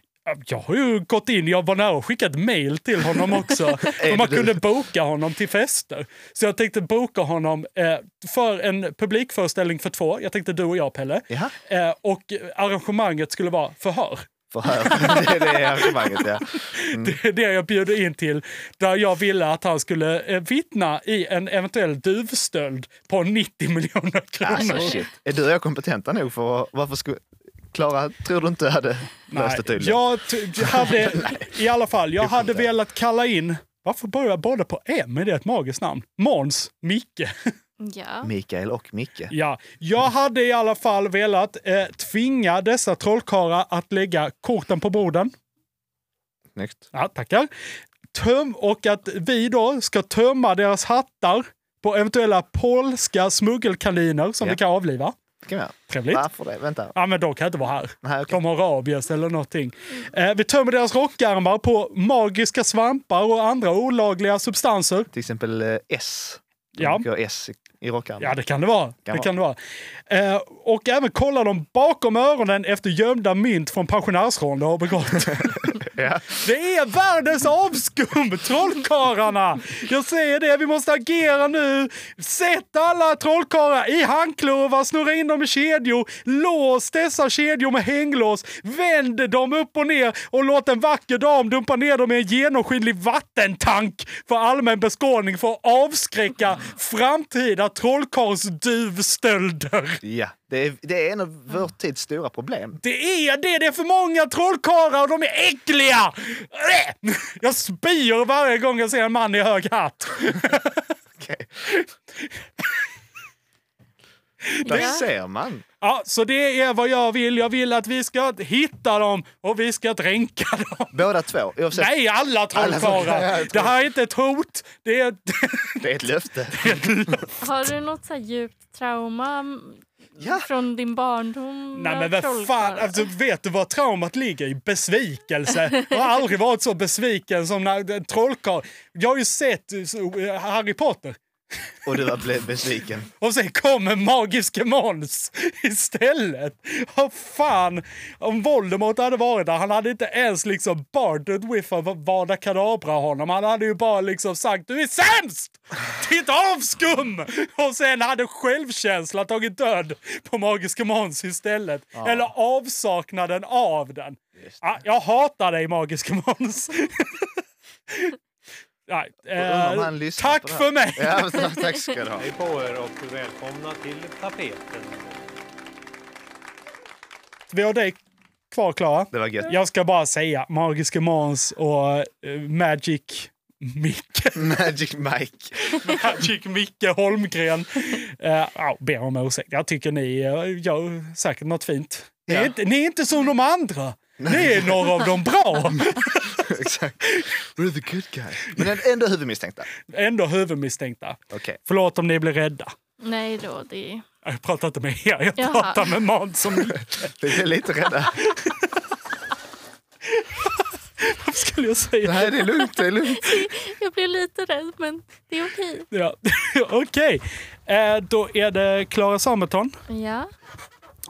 [SPEAKER 2] Jag har ju gått in, jag var nära att skicka ett mail till honom också.
[SPEAKER 4] det
[SPEAKER 2] Om man
[SPEAKER 4] du?
[SPEAKER 2] kunde boka honom till fester. Så jag tänkte boka honom eh, för en publikföreställning för två. Jag tänkte du och jag Pelle.
[SPEAKER 4] Jaha,
[SPEAKER 2] Eh, och arrangemanget skulle vara förhör.
[SPEAKER 4] förhör. Det är det arrangemanget, ja. Mm.
[SPEAKER 2] Det är det jag bjuder in till. Där jag ville att han skulle eh, vittna i en eventuell duvstöld på 90 miljoner kronor.
[SPEAKER 4] Mm. Alltså, shit. Är du och jag kompetenta nog för att... Varför skulle... Klara, tror du inte jag hade löst det tydligen?
[SPEAKER 2] Jag t- hade, i alla fall, jag hade velat kalla in, varför börjar båda på M? Är det ett magiskt namn? Måns, Micke.
[SPEAKER 3] Ja.
[SPEAKER 4] Mikael och Micke.
[SPEAKER 2] Ja, jag hade i alla fall velat eh, tvinga dessa trollkarlar att lägga korten på borden.
[SPEAKER 4] Snyggt.
[SPEAKER 2] Ja, tackar. Töm, och att vi då ska tömma deras hattar på eventuella polska smuggelkaniner som
[SPEAKER 4] Ja.
[SPEAKER 2] vi kan avliva.
[SPEAKER 4] Det kan vi göra.
[SPEAKER 2] Trevligt.
[SPEAKER 4] Varför det? Vänta.
[SPEAKER 2] Ja, men de kan inte vara här.
[SPEAKER 4] Nej, okej.
[SPEAKER 2] De har rabies eller någonting. Eh, vi tömmer deras rockarmar på magiska svampar och andra olagliga substanser.
[SPEAKER 4] Till exempel eh, S. De
[SPEAKER 2] Ja.
[SPEAKER 4] brukar ha S i- i rockarmen.
[SPEAKER 2] Ja, det kan det vara.
[SPEAKER 4] Kan
[SPEAKER 2] det kan det vara. Eh, och även kolla dem bakom öronen efter gömda mynt från pensionärsrån de har begått.
[SPEAKER 4] Ja.
[SPEAKER 2] det är världens avskum, trollkarlarna! Jag säger det, vi måste agera nu! Sätt alla trollkarlar i handklovar, snurra in dem i kedjor, lås dessa kedjor med hänglås, vänd dem upp och ner och låt en vacker dam dumpa ner dem i en genomskinlig vattentank för allmän beskådning för att avskräcka framtida trollkarlsduvstölder.
[SPEAKER 4] Ja, det är, det är en av vår tids stora problem.
[SPEAKER 2] Det är det! Det är för många trollkarlar och de är äckliga! Äh! Jag spyr varje gång jag ser en man i hög hatt.
[SPEAKER 4] Okej. Där
[SPEAKER 3] Ja.
[SPEAKER 4] ser man.
[SPEAKER 2] Ja, så det är vad jag vill. Jag vill att vi ska hitta dem och vi ska dränka dem.
[SPEAKER 4] Båda två. Oavsett,
[SPEAKER 2] Nej, alla
[SPEAKER 4] trollkarlar, ja,
[SPEAKER 2] trollkarlar!
[SPEAKER 4] troll-
[SPEAKER 2] Det här är inte ett hot. Det är...
[SPEAKER 4] det är ett löfte.
[SPEAKER 3] Har du något så här djupt trauma m-
[SPEAKER 4] Ja.
[SPEAKER 3] från din barndom?
[SPEAKER 2] Nej men
[SPEAKER 3] med
[SPEAKER 2] vad fan,
[SPEAKER 3] trollkarlar?
[SPEAKER 2] alltså, vet du vad traumat ligger i? Besvikelse. Jag har aldrig varit så besviken som när en trollkarl... Jag har ju sett eh, så, eh, Harry Potter.
[SPEAKER 4] Och du var ble- besviken.
[SPEAKER 2] Och sen kommer magiske Måns istället. Vad fan, om Voldemort hade varit där, han hade inte ens liksom Bardet Whiff av Vada Kadabra honom. Han hade ju bara liksom sagt du är sämst! Ditt avskum! Och sen hade självkänslan tagit död på magiske Måns istället. Eller avsaknaden av den. Ja, jag hatar dig magiske Måns. Nej,
[SPEAKER 4] undrar om
[SPEAKER 2] eh,
[SPEAKER 4] han lyssnar på
[SPEAKER 2] tack
[SPEAKER 4] det här.
[SPEAKER 2] för mig!
[SPEAKER 4] Ja, men, tack ska du ha.
[SPEAKER 9] Hej på er och välkomna till tapeten.
[SPEAKER 2] Vi har dig kvar, Klara.
[SPEAKER 4] Det var gött.
[SPEAKER 2] Jag ska bara säga Magiske Måns och eh, Magic Micke.
[SPEAKER 4] Magic Mike.
[SPEAKER 2] Magic Micke Holmgren. Uh, ber om ursäkt. Jag tycker ni eh, gör säkert något fint. Ni är,
[SPEAKER 4] Ja.
[SPEAKER 2] inte, ni är inte som de andra. Ni är några av de bra.
[SPEAKER 4] Exakt. We're the good guys. Men ändå huvudmisstänkta.
[SPEAKER 2] Ändå huvudmisstänkta.
[SPEAKER 4] Okej.
[SPEAKER 2] Förlåt om ni blir rädda.
[SPEAKER 3] Nej då, det är...
[SPEAKER 2] Jag pratar inte med er, jag
[SPEAKER 3] Jaha.
[SPEAKER 2] pratar med Måns och Micke.
[SPEAKER 4] Vi är lite rädda.
[SPEAKER 2] Vad skulle jag säga?
[SPEAKER 4] Nej, det är lugnt. Det är lugnt.
[SPEAKER 3] Jag blev lite rädd, men det är okej.
[SPEAKER 2] Ja. Okej, Eh, då är det Klara Sameton
[SPEAKER 3] Ja,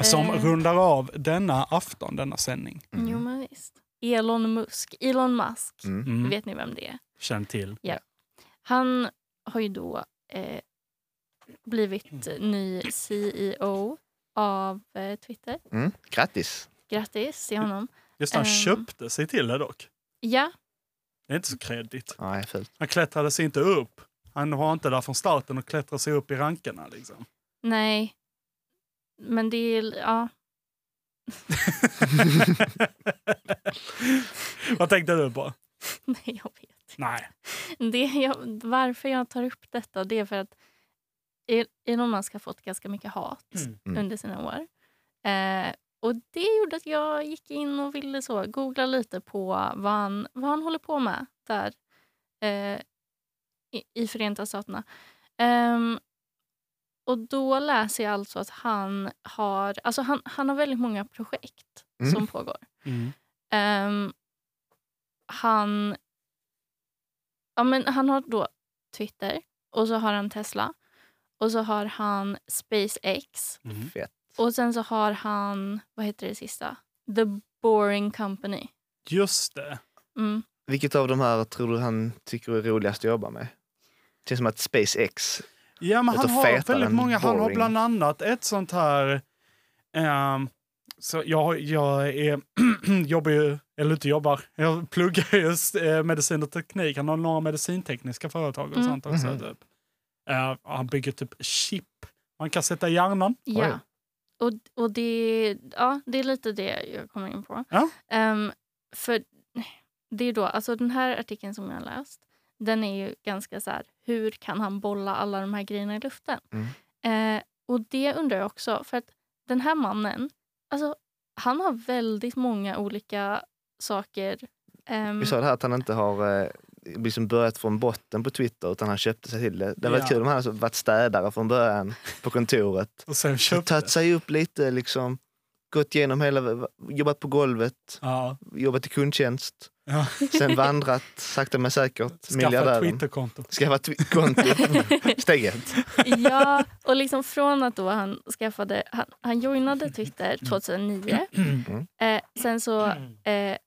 [SPEAKER 2] som
[SPEAKER 3] Eh.
[SPEAKER 2] rundar av denna afton, denna sändning.
[SPEAKER 4] Mm.
[SPEAKER 3] jo men visst. Elon Musk, Elon Musk,
[SPEAKER 2] Mm.
[SPEAKER 3] vet ni vem det är?
[SPEAKER 2] Känn till.
[SPEAKER 3] Han har ju då eh, blivit ny CEO av eh, Twitter.
[SPEAKER 4] Mm. Grattis.
[SPEAKER 3] Grattis till honom.
[SPEAKER 2] Just det, han
[SPEAKER 3] Ehm.
[SPEAKER 2] köpte sig till det dock.
[SPEAKER 3] Ja,
[SPEAKER 2] Det är inte så kreddigt.
[SPEAKER 4] Nej, fult.
[SPEAKER 2] Han klättrade sig inte upp. Han var inte där från starten och klättrade sig upp i rankerna. Liksom.
[SPEAKER 3] nej, men det är... Ja,
[SPEAKER 2] Vad tänkte du på?
[SPEAKER 3] nej jag vet.
[SPEAKER 2] Nej.
[SPEAKER 3] Det jag, varför jag tar upp detta det är för att El- Elon Musk har fått ganska mycket hat
[SPEAKER 4] Mm.
[SPEAKER 3] under sina år. Eh, och Det gjorde att jag gick in och ville så, googla lite på vad han, vad han håller på med där eh, i, i Förenta Staterna. Ehm, och Då läser jag alltså att han har, alltså han, han har väldigt många projekt
[SPEAKER 4] Mm.
[SPEAKER 3] som pågår. Ehm, han, ja, men han har då Twitter och så har han Tesla och så har han SpaceX
[SPEAKER 4] Fett.
[SPEAKER 3] och sen så har han, vad heter det sista? The Boring Company.
[SPEAKER 2] Just det.
[SPEAKER 3] Mm.
[SPEAKER 4] Vilket av de här tror du han tycker är roligast att jobba med? Det känns som att SpaceX...
[SPEAKER 2] Ja, men han
[SPEAKER 4] Låter
[SPEAKER 2] har
[SPEAKER 4] fetare
[SPEAKER 2] väldigt
[SPEAKER 4] än
[SPEAKER 2] många. Han har
[SPEAKER 4] boring.
[SPEAKER 2] bland annat ett sånt här... ehm, så jag, jag är, jobbar ju, eller inte jobbar, jag pluggar just eh, medicin och teknik. Han har några medicintekniska företag och
[SPEAKER 3] Mm.
[SPEAKER 2] sånt också.
[SPEAKER 4] Mhm.
[SPEAKER 2] Typ. Eh, han bygger typ chip man kan sätta i hjärnan.
[SPEAKER 3] Ja. och, och det, ja, det är lite det jag kommer in på.
[SPEAKER 2] Ja.
[SPEAKER 3] Ehm, för det är då, alltså den här artikeln som jag har läst, den är ju ganska så här, hur kan han bolla alla de här grejerna i luften?
[SPEAKER 4] Mm.
[SPEAKER 3] Eh, och det undrar jag också, för att den här mannen, alltså han har väldigt många olika saker. ehm,
[SPEAKER 4] Vi sa det här att han inte har eh, liksom börjat från botten på Twitter utan han köpte sig till det. Det hade varit
[SPEAKER 2] Ja.
[SPEAKER 4] kul om han hade varit städare från början på kontoret.
[SPEAKER 2] Och sen köpte...
[SPEAKER 4] Tagit sig upp lite liksom. Gått igenom hela, jobbat på golvet,
[SPEAKER 2] Ja.
[SPEAKER 4] jobbat i kundtjänst.
[SPEAKER 2] Ja.
[SPEAKER 4] Sen vandrat sakta men säkert.
[SPEAKER 2] Skaffa ett
[SPEAKER 4] miljardären.
[SPEAKER 2] Twitterkonto.
[SPEAKER 4] Skaffa ett Twitterkonto. Steg ett.
[SPEAKER 3] ja, och liksom från att då han skaffade, han, han joinade Twitter 2009.
[SPEAKER 4] Mm.
[SPEAKER 3] Eh, sen så, eh,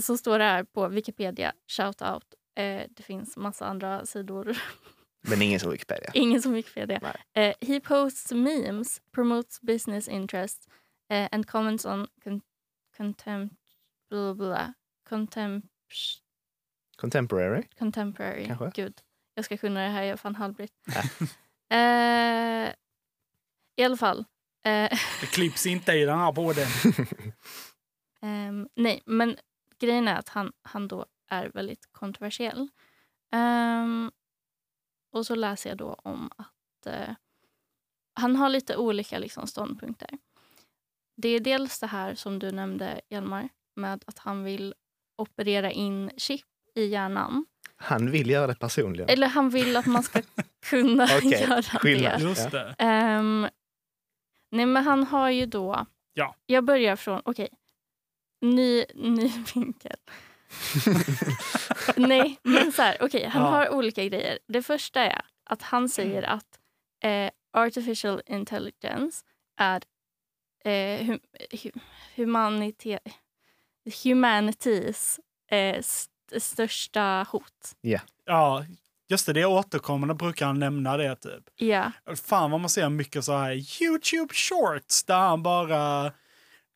[SPEAKER 3] så står det här på Wikipedia, shout out. Eh, det finns massa andra sidor,
[SPEAKER 4] Men ingen som Wikipedia.
[SPEAKER 3] ingen som Wikipedia. Eh, he posts memes, promotes business interests eh, and comments on con- contempt, blah, blah, blah, contempt
[SPEAKER 4] Contemporary.
[SPEAKER 3] Contemporary.
[SPEAKER 4] Kanske.
[SPEAKER 3] Gud, jag ska kunna det här. Jag är fan halvbritt. eh, I alla fall. Eh,
[SPEAKER 2] Det klipps inte i den här podden.
[SPEAKER 3] ehm, nej, men grejen är att han, han då är väldigt kontroversiell. Ehm, och så läser jag då om att eh, han har lite olika liksom, ståndpunkter. Det är dels det här som du nämnde, Hjalmar, med att han vill operera in chip i hjärnan.
[SPEAKER 4] Han vill göra det personligen.
[SPEAKER 3] Eller han vill att man ska kunna
[SPEAKER 4] Okej,
[SPEAKER 3] göra
[SPEAKER 4] skillnad.
[SPEAKER 3] det.
[SPEAKER 2] Just det.
[SPEAKER 3] Ehm, nej, men han har ju då...
[SPEAKER 2] Ja.
[SPEAKER 3] Jag börjar från... Okej. Ny, ny vinkel. nej, men så här. Okej, han
[SPEAKER 2] Ja.
[SPEAKER 3] har olika grejer. Det första är att han säger att eh, artificial intelligence är eh, hum, hu- humanite, humanities eh, st- största hot.
[SPEAKER 2] Ja, just det. Det är återkommande brukar han nämna det typ.
[SPEAKER 3] Ja.
[SPEAKER 2] Fan vad man ser mycket så här YouTube shorts där han bara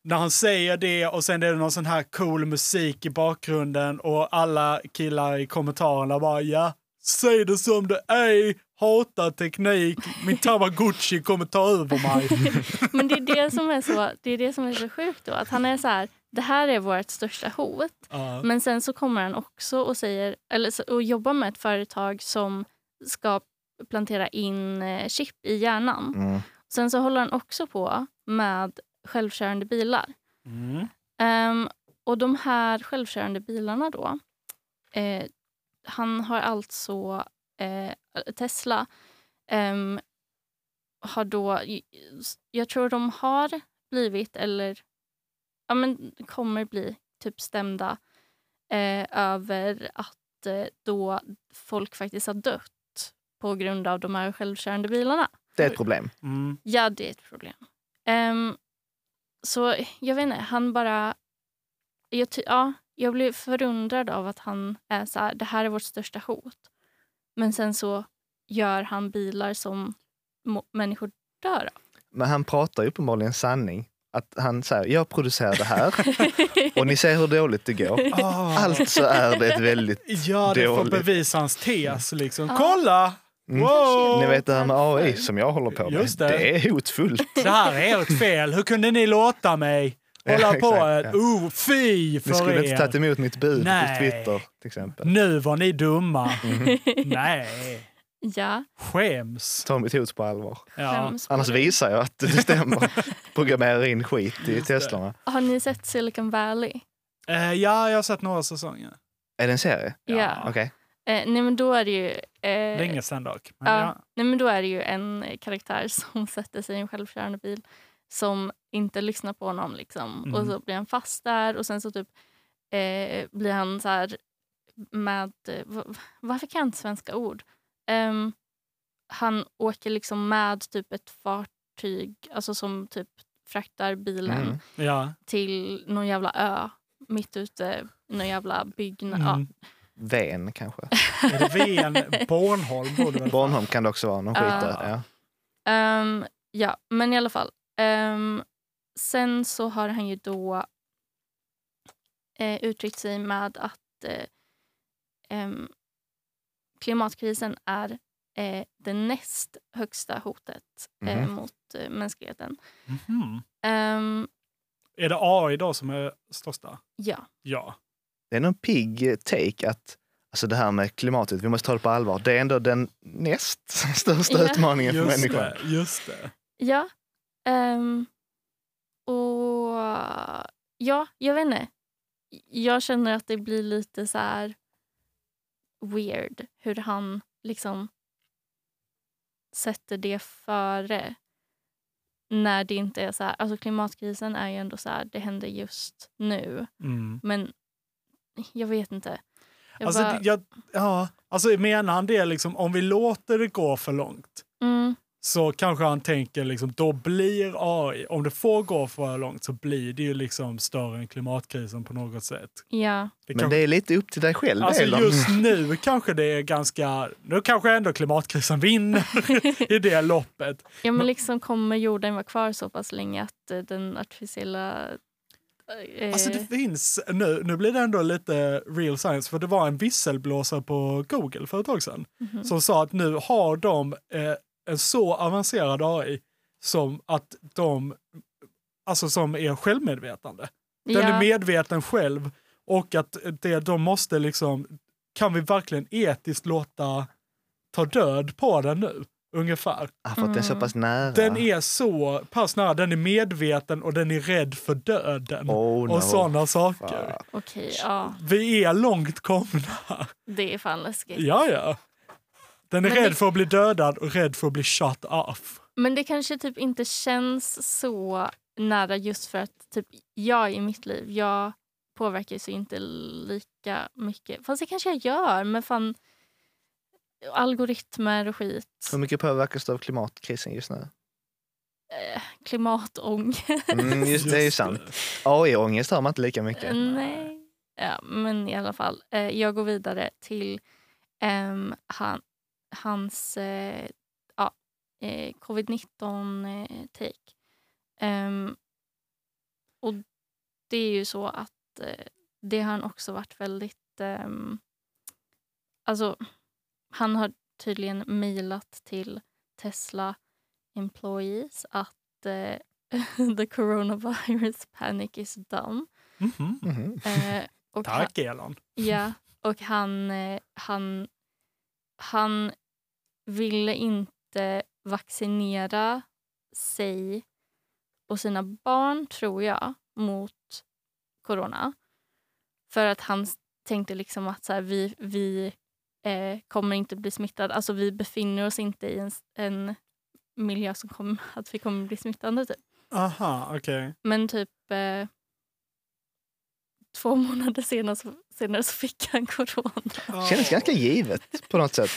[SPEAKER 2] när han säger det och sen är det någon sån här cool musik i bakgrunden och alla killar i kommentarerna bara ja, säg det som det är, hata teknik, min Tamagotchi kommer ta över mig.
[SPEAKER 3] Men det är det som är så, det är det som är så sjukt då. Att han är så här, det här är vårt största hot.
[SPEAKER 2] Ja.
[SPEAKER 3] Men sen så kommer han också och, säger, eller, så- och jobbar med ett företag som ska plantera in eh, chip i hjärnan.
[SPEAKER 4] Mm.
[SPEAKER 3] Sen så håller han också på med självkörande bilar.
[SPEAKER 2] Mm.
[SPEAKER 3] Ehm, och de här självkörande bilarna då. Eh, han har alltså eh, Tesla. ehm, har då, jag tror de har blivit eller ja, men kommer bli typ stämda eh, över att eh, då folk faktiskt har dött på grund av de här självkörande bilarna.
[SPEAKER 4] Det är ett problem.
[SPEAKER 2] Mm.
[SPEAKER 3] Ja, det är ett problem. Ehm, så jag vet inte, han bara... Jag, ty- ja, jag blev förundrad av att han är så här, det här är vårt största hot. Men sen så gör han bilar som må- människor dör av.
[SPEAKER 4] Men han pratar ju uppenbarligen sanning. Att han säger, jag producerar det här och ni ser hur dåligt det går.
[SPEAKER 2] Ah.
[SPEAKER 4] Alltså är det ett väldigt...
[SPEAKER 2] Ja, det får
[SPEAKER 4] Dåligt.
[SPEAKER 2] bevisa hans tes liksom.
[SPEAKER 3] Ja.
[SPEAKER 2] Kolla!
[SPEAKER 4] Mm.
[SPEAKER 2] Wow!
[SPEAKER 4] Ni vet det här med AI som jag håller på med.
[SPEAKER 2] Just det.
[SPEAKER 4] är hotfullt.
[SPEAKER 2] Det här är ert fel. Hur kunde ni låta mig hålla
[SPEAKER 4] Ja,
[SPEAKER 2] på?
[SPEAKER 4] exakt,
[SPEAKER 2] Exakt,
[SPEAKER 4] ja.
[SPEAKER 2] Oh, fy
[SPEAKER 4] Ni
[SPEAKER 2] för
[SPEAKER 4] skulle inte tagit
[SPEAKER 2] er.
[SPEAKER 4] emot mitt bud på
[SPEAKER 2] Nej.
[SPEAKER 4] Twitter till exempel.
[SPEAKER 2] Nu var ni dumma.
[SPEAKER 3] Mm.
[SPEAKER 2] Nej,
[SPEAKER 3] ja,
[SPEAKER 2] skäms.
[SPEAKER 4] Ta mitt hot på allvar.
[SPEAKER 2] Ja.
[SPEAKER 3] skäms på
[SPEAKER 4] Annars
[SPEAKER 3] det.
[SPEAKER 4] visar jag att det stämmer. Programmerar in skit i Teslorna.
[SPEAKER 3] Har ni sett Silicon Valley?
[SPEAKER 2] Eh, ja, jag har sett några säsonger.
[SPEAKER 4] Är det en serie?
[SPEAKER 3] Ja.
[SPEAKER 4] Okej.
[SPEAKER 3] Eh, nej, men då är det ju... eh,
[SPEAKER 2] Länge sedan dock. Men
[SPEAKER 3] Ja.
[SPEAKER 2] ja.
[SPEAKER 3] Nej, men då är det ju en eh, karaktär som sätter sig i en självkörande bil som inte lyssnar på honom. Liksom.
[SPEAKER 2] Mm.
[SPEAKER 3] Och så blir han fast där och sen så typ eh, blir han så här med... Eh, va- varför kan jag inte svenska ord? Ehm, han åker liksom med typ ett fartyg alltså som typ fraktar bilen
[SPEAKER 4] Mm.
[SPEAKER 2] Ja.
[SPEAKER 3] till någon jävla ö mitt ute i någon jävla byggnad. Ja.
[SPEAKER 2] Mm.
[SPEAKER 4] Ven kanske.
[SPEAKER 2] Är det Ven Bornholm? borde väl-
[SPEAKER 4] Bornholm kan det också vara. Någon skit
[SPEAKER 3] Ja.
[SPEAKER 4] där. Ja.
[SPEAKER 3] Ehm, ja, men i alla fall. Ehm, sen så har han ju då eh, uttryckt sig med att eh, ehm, klimatkrisen är eh, det näst högsta hotet eh,
[SPEAKER 4] Mhm.
[SPEAKER 3] mot mot eh, mänskligheten.
[SPEAKER 2] Mhm.
[SPEAKER 3] Ehm,
[SPEAKER 2] Är det AI då som är största?
[SPEAKER 3] ja.
[SPEAKER 2] Ja.
[SPEAKER 4] Det är någon pigg take att alltså det här med klimatet, vi måste ta det på allvar. Det är ändå den näst största
[SPEAKER 3] Ja.
[SPEAKER 4] utmaningen för
[SPEAKER 2] Just
[SPEAKER 4] människan.
[SPEAKER 2] det, just det.
[SPEAKER 3] Ja. ehm, och ja, jag vet inte. Jag känner att det blir lite så här weird hur han liksom sätter det före. När det inte är så här, alltså klimatkrisen är ju ändå så här, det händer just nu.
[SPEAKER 2] Mm.
[SPEAKER 3] Men jag vet inte. Jag
[SPEAKER 2] Alltså,
[SPEAKER 3] bara,
[SPEAKER 2] det- jag, ja, alltså menar han det liksom, om vi låter det gå för långt
[SPEAKER 3] mm,
[SPEAKER 2] så kanske han tänker liksom, då blir AI, om det får gå för långt så blir det ju liksom större än klimatkrisen på något sätt.
[SPEAKER 3] ja,
[SPEAKER 2] Det
[SPEAKER 4] Men
[SPEAKER 2] kanske,
[SPEAKER 4] det är lite upp till dig själv.
[SPEAKER 2] alltså
[SPEAKER 4] Elon.
[SPEAKER 2] just nu kanske det är ganska, nu kanske ändå klimatkrisen vinner i det loppet.
[SPEAKER 3] ja, men liksom kommer jorden vara kvar så pass länge att eh, den artificiella... eh,
[SPEAKER 2] Alltså det finns, nu, nu blir det ändå lite real science, för det var en visselblåsare på Google för ett tag sedan
[SPEAKER 3] mhm.
[SPEAKER 2] som sa att nu har de eh, en så avancerad AI som att de alltså som är självmedvetande. Den
[SPEAKER 3] ja.
[SPEAKER 2] är medveten själv och att det de måste liksom, kan vi verkligen etiskt låta ta död på den nu? Ungefär.
[SPEAKER 4] Ah, för att den är så pass nära.
[SPEAKER 2] Mm. Den är så pass nära, den är medveten och den är rädd för döden.
[SPEAKER 4] oh, no.
[SPEAKER 2] och sådana saker.
[SPEAKER 4] Fan.
[SPEAKER 3] Okej, ja.
[SPEAKER 2] Vi är långt komna.
[SPEAKER 3] Det är fan läskigt.
[SPEAKER 2] Ja, ja. Den är
[SPEAKER 3] Men
[SPEAKER 2] rädd
[SPEAKER 3] det-
[SPEAKER 2] för att bli dödad och rädd för att bli shut off.
[SPEAKER 3] Men det kanske typ inte känns så nära just för att typ jag i mitt liv, jag påverkas ju inte lika mycket. Fast det kanske jag gör, men fan algoritmer och skit.
[SPEAKER 2] Mm.
[SPEAKER 4] Hur mycket påverkas du av klimatkrisen just nu?
[SPEAKER 3] Eh, klimatångest.
[SPEAKER 4] Mm, just det är ju sant. AI-ångest har man inte lika
[SPEAKER 2] Mm.
[SPEAKER 4] mycket.
[SPEAKER 3] Mm, Nej. Ja, men i alla fall. Eh, jag går vidare till ehm, han, hans eh, ja, eh, covid-19-take. Ehm, och det är ju så att eh, det har han också varit väldigt... ehm, alltså, han har tydligen mejlat till Tesla employees att eh, the coronavirus panic is dumb.
[SPEAKER 2] Mhm.
[SPEAKER 4] Mhm.
[SPEAKER 3] Eh, och han,
[SPEAKER 2] Tack Elon.
[SPEAKER 3] ja, och han, eh, han, han ville inte vaccinera sig och sina barn, tror jag, mot corona. För att han s- tänkte liksom att så här, vi, vi eh, kommer inte bli smittade. Alltså vi befinner oss inte i en, s- en miljö som kommer att vi kommer bli smittade. Typ.
[SPEAKER 2] Aha, okej.
[SPEAKER 3] Men typ eh, två månader senare så, senare så fick han corona.
[SPEAKER 4] Känns ganska givet på något sätt.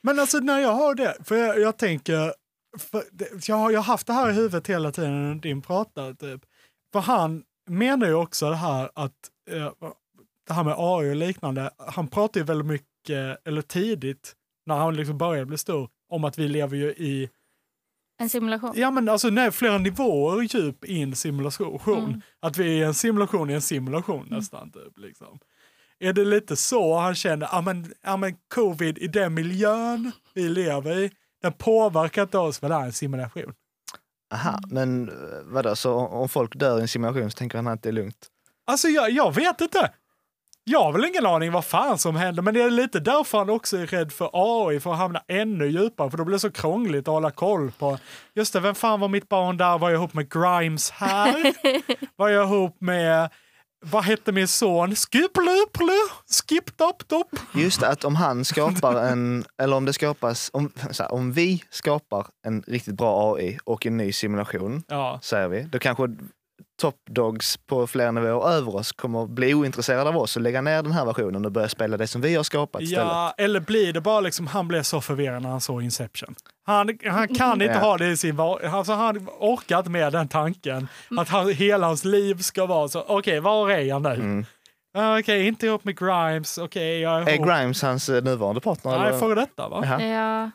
[SPEAKER 2] Men alltså när jag hör det, för jag, jag tänker, för det, jag, har- jag har haft det här i huvudet hela tiden när din pratade typ. För han menar ju också det här att, eh, det här med AI och liknande, han pratar ju väldigt mycket, eller tidigt, när han liksom började bli stor, om att vi lever ju i
[SPEAKER 3] En simulation.
[SPEAKER 2] Ja men alltså nej, flera nivåer djup i en simulation.
[SPEAKER 3] Mm.
[SPEAKER 2] Att vi är en simulation i en simulation nästan. Typ, liksom. Är det lite så han känner, ja men, ja men covid i den miljön vi lever i, den påverkar inte oss för det här är en simulation.
[SPEAKER 4] Aha, men eh, vadå, så om om folk dör i en simulation så tänker han att det är lugnt?
[SPEAKER 2] Alltså jag, jag vet inte. Jag har väl ingen aning vad fan som händer men det är lite därför han också är rädd för AI för att hamna ännu djupare för då blir det så krångligt att hålla koll på. Just det, vem fan var mitt barn där? Var jag ihop med Grimes här? Var jag ihop med, vad hette min son? Skippluplu? Skiptoptop?
[SPEAKER 4] Just att om han skapar en, eller om det skapas, om, så här, om vi skapar en riktigt bra AI och en ny simulation,
[SPEAKER 2] Ja,
[SPEAKER 4] säger vi, då kanske toppdogs på flera nivåer över oss kommer bli ointresserade av oss och lägga ner den här versionen och börja spela det som vi har skapat istället.
[SPEAKER 2] ja, eller blir det bara liksom, han blev så förvirrad när han såg Inception. Han, han kan inte
[SPEAKER 4] Ja.
[SPEAKER 2] ha det i sin var- alltså han orkar inte med den tanken att han, hela hans liv ska vara så, okej var är jag nu?
[SPEAKER 4] Mm.
[SPEAKER 2] Ja, Okej, inte ihop med Grimes. Okej, jag
[SPEAKER 4] Är
[SPEAKER 2] ihop-
[SPEAKER 4] Grimes hans eh, nuvarande partner?
[SPEAKER 2] Oh. Nej,
[SPEAKER 4] eller?
[SPEAKER 2] före detta va?
[SPEAKER 3] Eh,
[SPEAKER 4] Jaha.
[SPEAKER 3] Ja,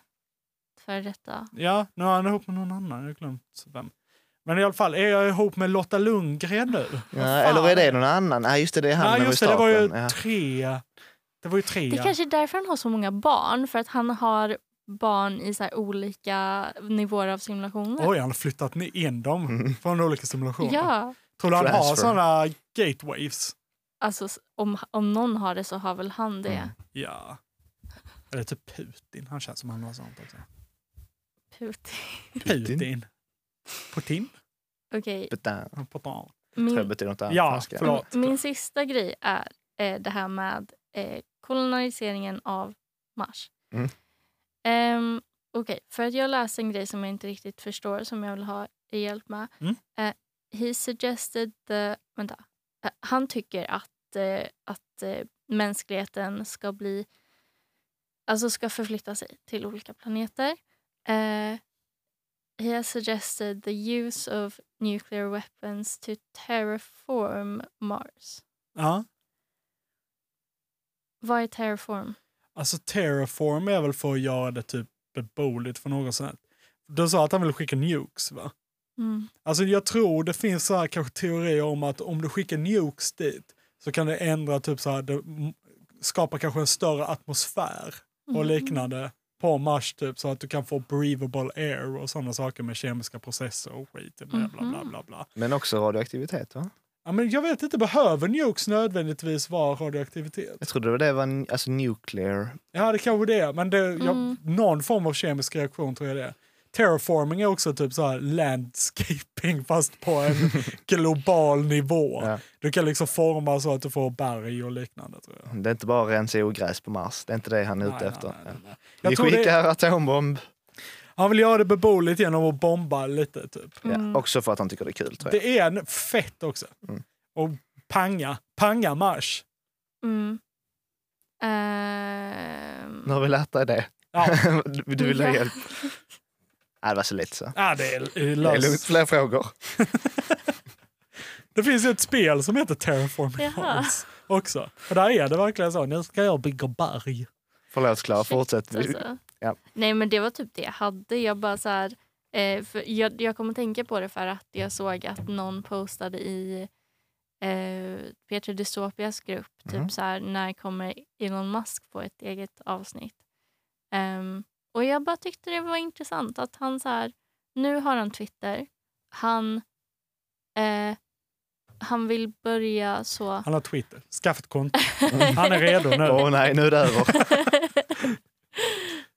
[SPEAKER 3] för detta.
[SPEAKER 2] Ja, nu är han ihop med någon annan. Jag har glömt vem. Men i alla fall, är jag ihop med Lotta Lundgren nu?
[SPEAKER 4] Ja, eller är det någon annan? Nej, just det, det är han
[SPEAKER 2] Nej,
[SPEAKER 4] med
[SPEAKER 2] just det, det var ju
[SPEAKER 4] mustaschen. Ja.
[SPEAKER 2] tre. Det var ju tre.
[SPEAKER 3] Det kanske är därför han har så många barn. För att han har barn i så här olika nivåer av simulationer.
[SPEAKER 2] Oj, han har flyttat ni- in dem
[SPEAKER 4] Mm.
[SPEAKER 2] från olika simulationer.
[SPEAKER 3] ja,
[SPEAKER 2] Tror du han har
[SPEAKER 4] Transfer.
[SPEAKER 2] sådana gatewaves?
[SPEAKER 3] alltså s- om, om någon har det så har väl han det.
[SPEAKER 2] Ja. Eller typ Putin. Han känns som han har sånt också.
[SPEAKER 3] Putin.
[SPEAKER 2] Putin? Putin? Putin?
[SPEAKER 3] Okej,
[SPEAKER 4] Putain.
[SPEAKER 2] Putin.
[SPEAKER 3] min,
[SPEAKER 4] Trubbet är något annat.
[SPEAKER 2] Mm. Ja,
[SPEAKER 4] franska.
[SPEAKER 2] förlåt.
[SPEAKER 3] min sista grej är eh, det här med eh, koloniseringen av Mars.
[SPEAKER 4] Mm.
[SPEAKER 3] Ehm, Okej, för att jag läste en grej som jag inte riktigt förstår som jag vill ha hjälp med.
[SPEAKER 2] Mm.
[SPEAKER 3] Eh, he suggested the... Vänta. Eh, han tycker att, eh, att eh, mänskligheten ska bli... Alltså ska förflytta sig till olika planeter. Eh, he has suggested the use of nuclear weapons to terraform Mars.
[SPEAKER 2] Ja.
[SPEAKER 3] Vad är terraform?
[SPEAKER 2] Alltså terraform är väl för att göra det typ beboeligt för något sånt. Du sa att han ville skicka nukes va?
[SPEAKER 3] Mm.
[SPEAKER 2] Alltså jag tror det finns så här kanske teorier om att om du skickar nukes dit så kan det ändra typ så här, det m- skapar kanske en större atmosfär och liknande på Mars typ så att du kan få breathable air och sådana saker med kemiska processer och skit. Bla, bla, bla, bla, bla.
[SPEAKER 4] Men också radioaktivitet va?
[SPEAKER 2] Ja, men jag vet inte, behöver nukes nödvändigtvis vara radioaktivitet?
[SPEAKER 4] Jag trodde det var en, alltså nuclear.
[SPEAKER 2] Ja, det kanske det är, men det, jag, någon form av kemisk reaktion tror jag det är. Terraforming är också typ så här landscaping fast på en global nivå.
[SPEAKER 4] Ja.
[SPEAKER 2] Du kan liksom forma så att du får berg och liknande tror jag.
[SPEAKER 4] Det är inte bara att rensa ogräs på Mars. Det är inte det han är
[SPEAKER 2] Nej,
[SPEAKER 4] ute
[SPEAKER 2] nej,
[SPEAKER 4] efter.
[SPEAKER 2] nej, nej, nej.
[SPEAKER 4] Ja. Vi
[SPEAKER 2] Jag tror det-
[SPEAKER 4] skickar atombomb.
[SPEAKER 2] Han vill göra det beboeligt genom att bomba lite typ.
[SPEAKER 3] Mm.
[SPEAKER 4] Ja, också för att han tycker det Mm. är kul tror jag.
[SPEAKER 2] Det är en fett också. Och panga, panga marsch.
[SPEAKER 3] Mm. Ehm,
[SPEAKER 4] Nu har vi lärt dig det.
[SPEAKER 2] Ja,
[SPEAKER 4] Du- Du vill ha
[SPEAKER 3] Ja.
[SPEAKER 4] hjälp. Nej, det var så lite så.
[SPEAKER 2] ja, det är
[SPEAKER 4] Det är lugnt,
[SPEAKER 2] löst.
[SPEAKER 4] fler frågor.
[SPEAKER 2] Det finns ju ett spel som heter Terraforming
[SPEAKER 3] Jaha.
[SPEAKER 2] Mars också. Och där är det verkligen så, nu ska jag bygga berg.
[SPEAKER 4] Förlåt Klara,
[SPEAKER 3] Shit,
[SPEAKER 4] fortsätt. Vi-
[SPEAKER 3] alltså.
[SPEAKER 4] ja.
[SPEAKER 3] Nej men det var typ det jag hade. Jag bara så här, eh, för jag, jag kom att tänka på det för att jag såg att någon postade i eh, Peter Dystopias grupp typ
[SPEAKER 4] Mhm.
[SPEAKER 3] så här när kommer Elon Musk på ett eget avsnitt. Ehm, och jag bara tyckte det var intressant att han så här, nu har han Twitter, han, eh, han vill börja så
[SPEAKER 2] Han har Twitter. Skaffa ett konto. Han är redo nu.
[SPEAKER 4] Åh nej, nu är det över.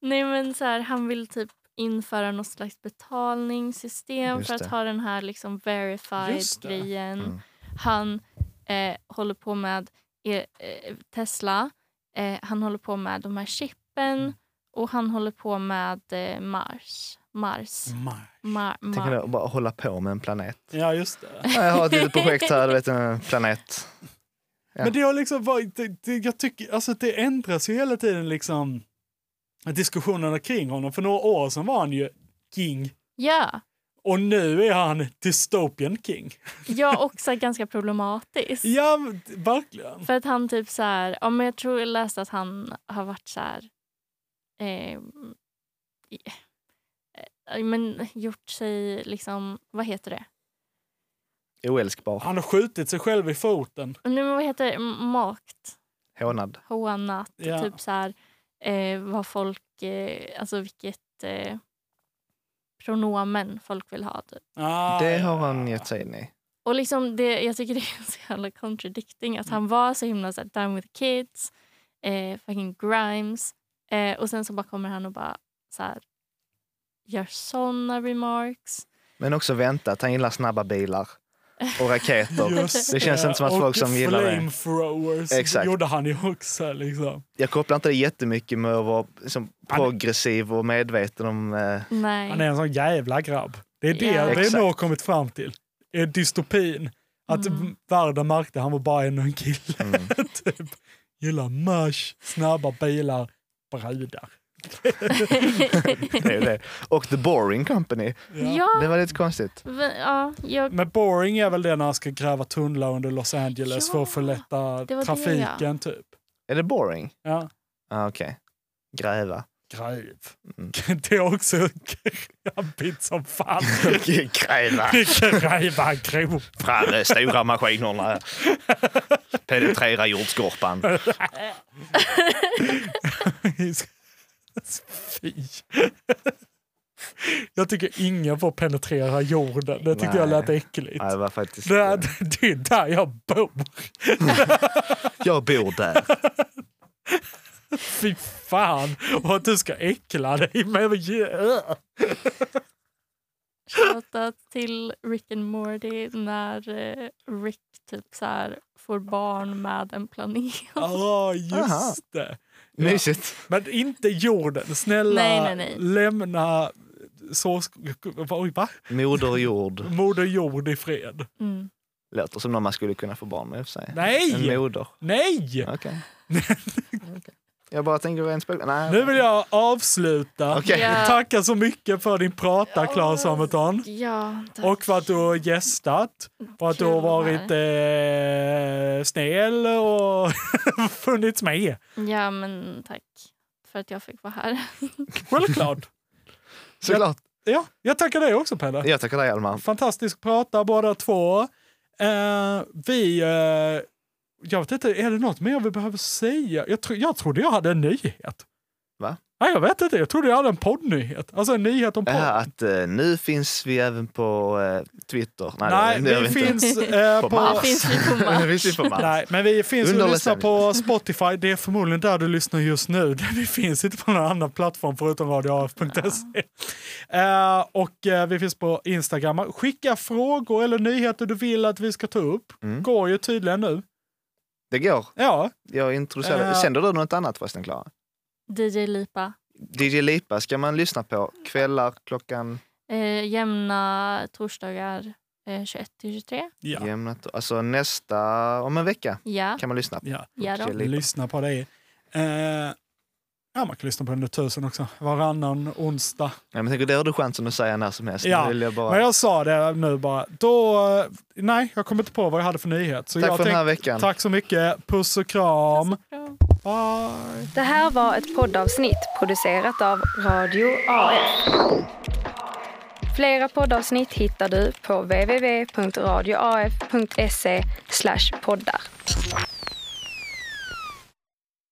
[SPEAKER 3] Nej men så här, han vill typ införa något slags betalningssystem
[SPEAKER 4] Just
[SPEAKER 3] för att
[SPEAKER 4] det.
[SPEAKER 3] ha den här liksom
[SPEAKER 2] Just det.
[SPEAKER 3] verified-grejen.
[SPEAKER 4] Mm.
[SPEAKER 3] Han eh, håller på med eh, eh, Tesla, eh, han håller på med de här chippen
[SPEAKER 4] Mm.
[SPEAKER 3] och han håller på med eh, Mars. Mars.
[SPEAKER 4] Mm.
[SPEAKER 2] Maj.
[SPEAKER 3] Mar-
[SPEAKER 4] Tänk
[SPEAKER 3] Mar-
[SPEAKER 4] dig att bara hålla på med en planet.
[SPEAKER 2] Ja, just det.
[SPEAKER 4] Ja, Jag har ett litet projekt här, du vet en planet. Ja.
[SPEAKER 2] Men det har liksom varit, det, det, jag tycker, alltså det ändras ju hela tiden liksom diskussionerna kring honom. För några år sedan var han ju king
[SPEAKER 3] ja.
[SPEAKER 2] och nu är han dystopian king.
[SPEAKER 3] ja, också ganska problematiskt.
[SPEAKER 2] Ja, men verkligen.
[SPEAKER 3] För att han typ så här, ja, men jag tror jag läste att han har varit så här, eh, i- eh, men gjort sig liksom, vad heter det?
[SPEAKER 4] Oälskbar,
[SPEAKER 2] Han har skjutit sig själv i foten.
[SPEAKER 3] Nu, men vad heter det? M- Makt,
[SPEAKER 4] hånad.
[SPEAKER 3] hånat,
[SPEAKER 2] Ja.
[SPEAKER 3] typ så här, eh, vad folk, eh, alltså vilket eh, pronomen folk vill ha. Typ.
[SPEAKER 2] Ah,
[SPEAKER 4] Det har
[SPEAKER 2] ja.
[SPEAKER 4] han gett sig in i.
[SPEAKER 3] Och liksom det, jag tycker det är så jävla contradicting
[SPEAKER 2] Mm.
[SPEAKER 3] att han var så himla så här, down with the kids, eh, fucking grimes. Eh, och sen så bara kommer han och bara så här, gör såna remarks.
[SPEAKER 4] Men också väntat, han gillar snabba bilar och raketer.
[SPEAKER 2] Just
[SPEAKER 4] Det känns inte som att folk som gillar det.
[SPEAKER 2] flamethrowers
[SPEAKER 4] Exakt.
[SPEAKER 2] gjorde han ju också. Liksom.
[SPEAKER 4] Jag kopplar inte det jättemycket med att vara liksom, progressiv och medveten om... Eh,
[SPEAKER 3] Nej.
[SPEAKER 2] Han är en sån jävla grabb. Det är det
[SPEAKER 3] Ja.
[SPEAKER 2] vi
[SPEAKER 4] Exakt.
[SPEAKER 2] nog har kommit fram till. Är dystopin. Att
[SPEAKER 3] Mm.
[SPEAKER 2] världen märkte att han var bara ännu en kille.
[SPEAKER 4] mm.
[SPEAKER 2] typ. Gillar mush, snabba bilar, brudar.
[SPEAKER 4] det är det. Och The Boring Company.
[SPEAKER 3] ja,
[SPEAKER 4] Det var lite konstigt.
[SPEAKER 3] v- ja, jag,
[SPEAKER 2] Men boring är väl det när han ska gräva tunnlar under Los Angeles
[SPEAKER 3] Ja,
[SPEAKER 2] för att förlätta
[SPEAKER 3] det var det,
[SPEAKER 2] trafiken typ.
[SPEAKER 4] Är det boring?
[SPEAKER 2] Ja.
[SPEAKER 4] Ah, Okej. Gräva.
[SPEAKER 2] Gräv.
[SPEAKER 4] Mm.
[SPEAKER 2] Det är också grabbigt som fan.
[SPEAKER 4] Gräva
[SPEAKER 2] Gräva grop.
[SPEAKER 4] fram de stora maskinerna. Penetrera jordskorpan.
[SPEAKER 2] Fy. Jag tycker ingen får penetrera jorden. Det tyckte jag
[SPEAKER 4] Nej.
[SPEAKER 2] lät äckligt.
[SPEAKER 4] Nej, det var faktiskt... eh,
[SPEAKER 2] Det, är- det är där jag bor.
[SPEAKER 4] Jag bor där.
[SPEAKER 2] Fy fan. Och att du ska äckla dig med...
[SPEAKER 3] Shoutout till Rick and Morty när eh, Rick typ så här får barn med en planet.
[SPEAKER 2] Ja,
[SPEAKER 4] Aha.
[SPEAKER 2] Ah, just det.
[SPEAKER 4] Mysigt.
[SPEAKER 2] Men inte jorden. Snälla,
[SPEAKER 3] Nej, nej, nej.
[SPEAKER 2] lämna sås... Oj, va?
[SPEAKER 4] Moder jord.
[SPEAKER 2] Moder jord i fred.
[SPEAKER 3] Mm.
[SPEAKER 4] Låter som någon man skulle kunna få barn med i och för sig.
[SPEAKER 2] Nej!
[SPEAKER 4] En moder.
[SPEAKER 2] Nej!
[SPEAKER 4] Okej. Okej. Jag bara tänker rent spel. Nej.
[SPEAKER 2] Nu vill jag avsluta.
[SPEAKER 4] Okej.
[SPEAKER 3] Ja.
[SPEAKER 2] Tacka så mycket för din prata, Claes Hamilton.
[SPEAKER 3] Ja, tack.
[SPEAKER 2] Och för att du har gästat. Och att du
[SPEAKER 3] Mm, Kul
[SPEAKER 2] har
[SPEAKER 3] att vara
[SPEAKER 2] varit eh, snäll och funnits med.
[SPEAKER 3] Ja, men tack för att jag fick vara här.
[SPEAKER 2] Självklart.
[SPEAKER 4] Såklart.
[SPEAKER 2] Ja, jag tackar dig också, Pelle.
[SPEAKER 4] Jag tackar dig Alma.
[SPEAKER 2] Fantastisk prata båda två. Eh, vi... eh, jag vet inte, är det något mer vi behöver säga? Jag, tro, jag trodde jag hade en nyhet.
[SPEAKER 4] Va?
[SPEAKER 2] Nej, jag vet inte. Jag trodde jag hade en poddnyhet. Alltså en nyhet om podd.
[SPEAKER 4] Ja, att eh, nu finns vi även på eh, Twitter. Nej,
[SPEAKER 2] Nej,
[SPEAKER 4] det gör
[SPEAKER 2] vi
[SPEAKER 4] inte.
[SPEAKER 2] finns eh,
[SPEAKER 4] På
[SPEAKER 2] på...
[SPEAKER 4] Mars.
[SPEAKER 3] Det finns vi på
[SPEAKER 4] Nu
[SPEAKER 3] Mars.
[SPEAKER 4] finns vi på Mars.
[SPEAKER 2] Nej, men vi finns
[SPEAKER 4] Under
[SPEAKER 2] och lyssnar på
[SPEAKER 4] decennier.
[SPEAKER 2] Spotify. Det är förmodligen där du lyssnar just nu. Vi finns inte på någon annan plattform förutom radioaf.se. Eh, och eh, vi finns på Instagram. Skicka frågor eller nyheter du vill att vi ska ta upp.
[SPEAKER 4] Mm.
[SPEAKER 2] Går ju tydligen nu.
[SPEAKER 4] Det går.
[SPEAKER 2] Ja,
[SPEAKER 4] Jag introducerar.
[SPEAKER 2] Eh.
[SPEAKER 4] Känner du något annat förresten Klara?
[SPEAKER 3] DJ Lipa.
[SPEAKER 4] DJ Lipa ska man lyssna på kvällar klockan
[SPEAKER 3] Eh, jämna torsdagar eh, 21-23.
[SPEAKER 2] ja.
[SPEAKER 4] jämnat. Alltså nästa, om en vecka
[SPEAKER 3] Ja,
[SPEAKER 4] kan man lyssna.
[SPEAKER 2] ja.
[SPEAKER 3] ja då.
[SPEAKER 4] Okej, Lipa.
[SPEAKER 2] Lyssna på det. Eh, ja, man kan lyssna på den där tusen också. Varannan onsdag.
[SPEAKER 4] Ja, men jag tänker, det har du chansen att säga när som helst.
[SPEAKER 2] Ja,
[SPEAKER 4] Nu vill jag bara...
[SPEAKER 2] Men jag sa det nu bara. Då, eh, nej, jag kommer inte på vad jag hade för nyhet. Så
[SPEAKER 4] Tack
[SPEAKER 2] jag
[SPEAKER 4] för den här
[SPEAKER 2] tänkte-
[SPEAKER 4] veckan.
[SPEAKER 2] Tack så mycket. Puss och kram.
[SPEAKER 3] Bra.
[SPEAKER 2] Bye.
[SPEAKER 1] Det här var ett poddavsnitt producerat av Radio AF. Flera poddavsnitt hittar du på www.radioaf.se poddar.